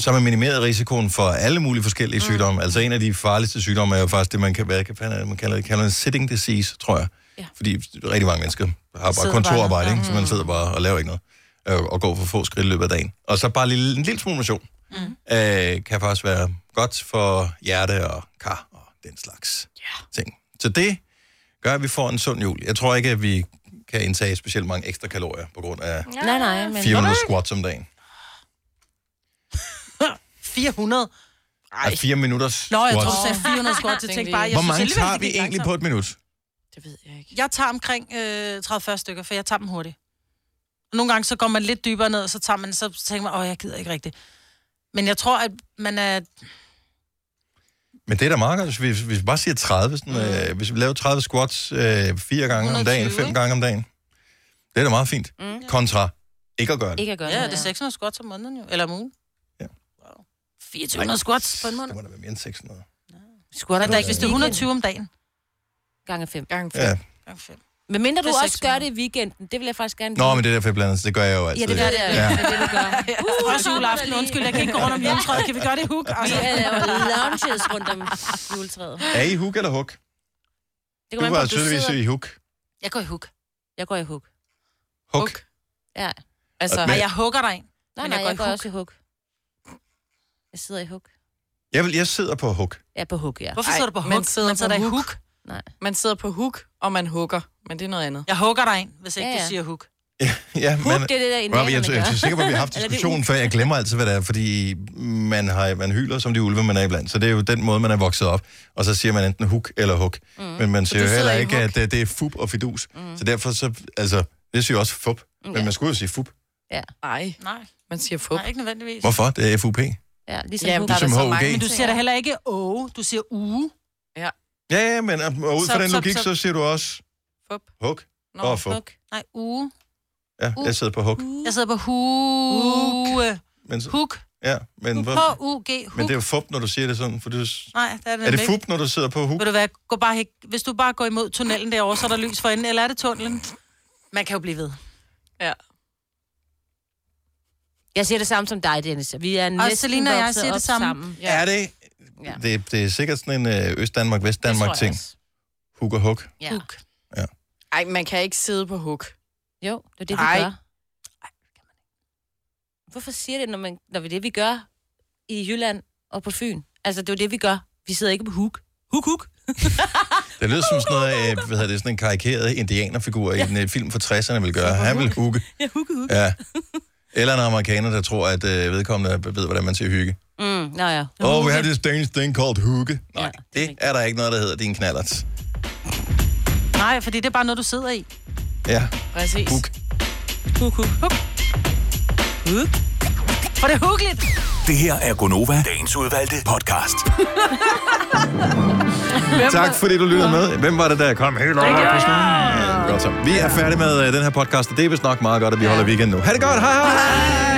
S1: så er man minimeret risikoen for alle mulige forskellige mm. sygdomme. Altså en af de farligste sygdomme er jo faktisk det, man kan, hvad kan fanden er det, man kalder, det kalder en sitting disease, tror jeg. Ja. Fordi rigtig mange mennesker har bare
S21: Sidder
S1: kontorarbejde,
S21: bare.
S1: ikke? så man sidder bare og laver ikke noget. Øh, og går for få skridt i løbet af dagen. Og så bare lille, en lille smule motion. Mm. Øh, kan faktisk være godt for hjerte og kar og den slags yeah. ting. Så det gør, at vi får en sund jul. Jeg tror ikke, at vi kan indtage specielt mange ekstra kalorier på grund af
S3: Nej, nej, men...
S1: 400 squats om dagen.
S4: 400?
S1: Ej. 4 Altså, minutters
S4: Nå, jeg
S1: squats.
S4: tror, du sagde 400 squats. Jeg tænkte bare, jeg
S1: Hvor
S4: synes
S1: mange
S4: alligevel,
S1: tager
S4: det
S1: vi
S4: gik
S1: egentlig på
S4: langsomt.
S1: et minut?
S4: Jeg tager omkring øh, 30-40 stykker, for jeg tager dem hurtigt. Og nogle gange så går man lidt dybere ned, og så, tager man, så tænker man, åh, jeg gider ikke rigtigt. Men jeg tror, at man er...
S1: Men det er da meget godt, hvis vi, hvis vi bare siger 30. Sådan,
S4: Mm.
S1: øh, hvis vi laver 30 squats øh, 4 gange om dagen, 5 gange om dagen. Det er da meget fint.
S4: Mm.
S1: Kontra ikke at gøre det.
S4: Ikke at gøre ja, det er 600 squats om måneden jo, eller om ugen. Ja. Wow. 2400
S1: Nej.
S4: squats på en måned.
S1: Det må da være mere end 600.
S4: Squatter
S1: Det
S4: der
S1: er
S4: ikke, hvis det er
S1: weekend.
S4: 120 om dagen.
S3: Gange fem.
S2: Gange
S1: Ja.
S4: Gange fem.
S3: Men mindre du
S4: Det er
S3: også gør det i weekenden, det vil jeg faktisk gerne
S1: Nå, men det er derfor, jeg blander, så det gør jeg jo altid.
S3: Ja, det gør det.
S1: Ja.
S3: Det er det, du gør.
S4: Uh, også juleaften. Undskyld, jeg kan ikke gå rundt om juletræet. Kan vi gøre det i Altså. hug?
S3: Vi øh, laver lounges rundt om juletræet.
S1: Er I hook eller hook?
S3: Det
S1: Du
S3: an på,
S1: var
S3: om
S1: tydeligvis
S3: sidder-
S1: i hook.
S4: Jeg går i hug.
S3: Jeg går i hug.
S1: Hook.
S3: Ja.
S1: Altså-
S4: nej, jeg hugger dig ind.
S3: Nej,
S4: Men
S3: nej,
S4: jeg
S3: jeg
S4: går
S3: går,
S4: i
S3: jeg går også
S4: hug.
S3: i hug. Jeg sidder i hug.
S1: Jeg, vil, jeg sidder på hook.
S3: Jeg er på hug, ja.
S4: Hvorfor sidder du på hook?
S2: Man sidder,
S4: Man sidder
S2: på
S4: i
S2: hook.
S4: hook.
S3: Nej.
S2: Man sidder på hook, og man hugger. Men det er noget andet.
S4: Jeg hugger dig ind, hvis ikke
S2: Ja,
S4: ja, ja.
S2: ja.
S4: du siger hug.
S1: Ja,
S4: Hook, det er det, der
S1: Robbie,
S4: indianerne
S1: jeg, tror- jeg,
S4: gør.
S1: er sikker på, at vi har haft
S4: Eller det er
S1: diskussionen
S4: uk.
S1: før. Jeg glemmer altid, hvad det er, fordi man, har, man hyler som de ulve, man er iblandt. Så det er jo den måde, man er vokset op. Og så siger man enten hook eller hook. Mm. Men man
S21: Så
S1: siger
S21: du
S1: jo heller
S21: sidder i
S1: ikke, at det, det er fup og fidus. Mm. Så derfor så, altså, det siger jo også fup. Men man skulle jo sige fup.
S3: Ja.
S2: Ej.
S4: Nej.
S2: Man siger fup.
S4: Nej, ikke nødvendigvis.
S1: Hvorfor? Det er FUP.
S3: Ja,
S1: ligesom Ja, hug. der er Ligesom der så HUG. mange
S4: Men du
S1: ting.
S4: siger da heller ikke å, du siger uge.
S2: Ja.
S1: Ja, ja, men og ud
S4: Så-
S1: fra den
S4: så-
S1: logik,
S4: så-
S1: så siger du også
S2: fup.
S1: hook og fup.
S4: Nej, uge.
S1: Ja, jeg sidder på hook.
S4: Jeg sidder på huge.
S1: Men så,
S4: Hook.
S1: Ja, men, hvor,
S4: H-U-G.
S1: men det er jo fup, når du siger det sådan, for du,
S4: Nej, det er det,
S1: er det
S4: ikke.
S1: fup, når du sidder på huk?
S4: Ved du hvad, gå bare, hæk- hvis du bare går imod tunnelen derovre, så er der lys for enden, eller er det tunnelen? Man kan jo blive ved.
S2: Ja.
S3: Jeg siger det samme som dig, Dennis. Vi er næsten
S4: Selina og jeg
S3: vokset
S4: siger det
S3: op
S4: samme.
S1: Er det?
S3: Ja.
S1: Det, det er sikkert sådan en øh, Øst-Danmark-Vest-Danmark-ting. Huk og huk.
S3: Ja.
S2: Huk. Ej, man kan ikke sidde på huk.
S3: Jo, det er det, vi
S2: Ej.
S3: gør. Hvorfor siger det, når, man, når vi det, vi gør i Jylland og på Fyn? Altså, det er jo det, vi gør. Vi sidder ikke på huk. Huk, huk.
S1: Det lyder som sådan noget, øh, hvad hedder det, sådan en karikeret indianerfigur i en øh, film fra 60'erne vil gøre. Han vil hugge.
S3: Ja, huk, huk.
S1: Ja. Eller en amerikaner, der tror, at øh, vedkommende ved, hvordan man siger hygge.
S3: Mm, nå ja.
S1: Oh, we have this Danish thing called hugge. Nej, det er der ikke noget, der hedder din knallert.
S4: Nej, fordi det er bare noget, du sidder i.
S1: Ja.
S2: Præcis.
S1: Huk.
S4: Huk, huk, huk. Huk. For det er hugligt.
S21: Det her er Gonova, dagens udvalgte podcast.
S1: Tak fordi du lyttede med. Hvem var det der? Kom helt over på snuden. Ja, godt så. Vi er færdige med øh, den her podcast, og det er vist nok meget godt, at vi holder weekend nu. Ha' det godt. Hej hej.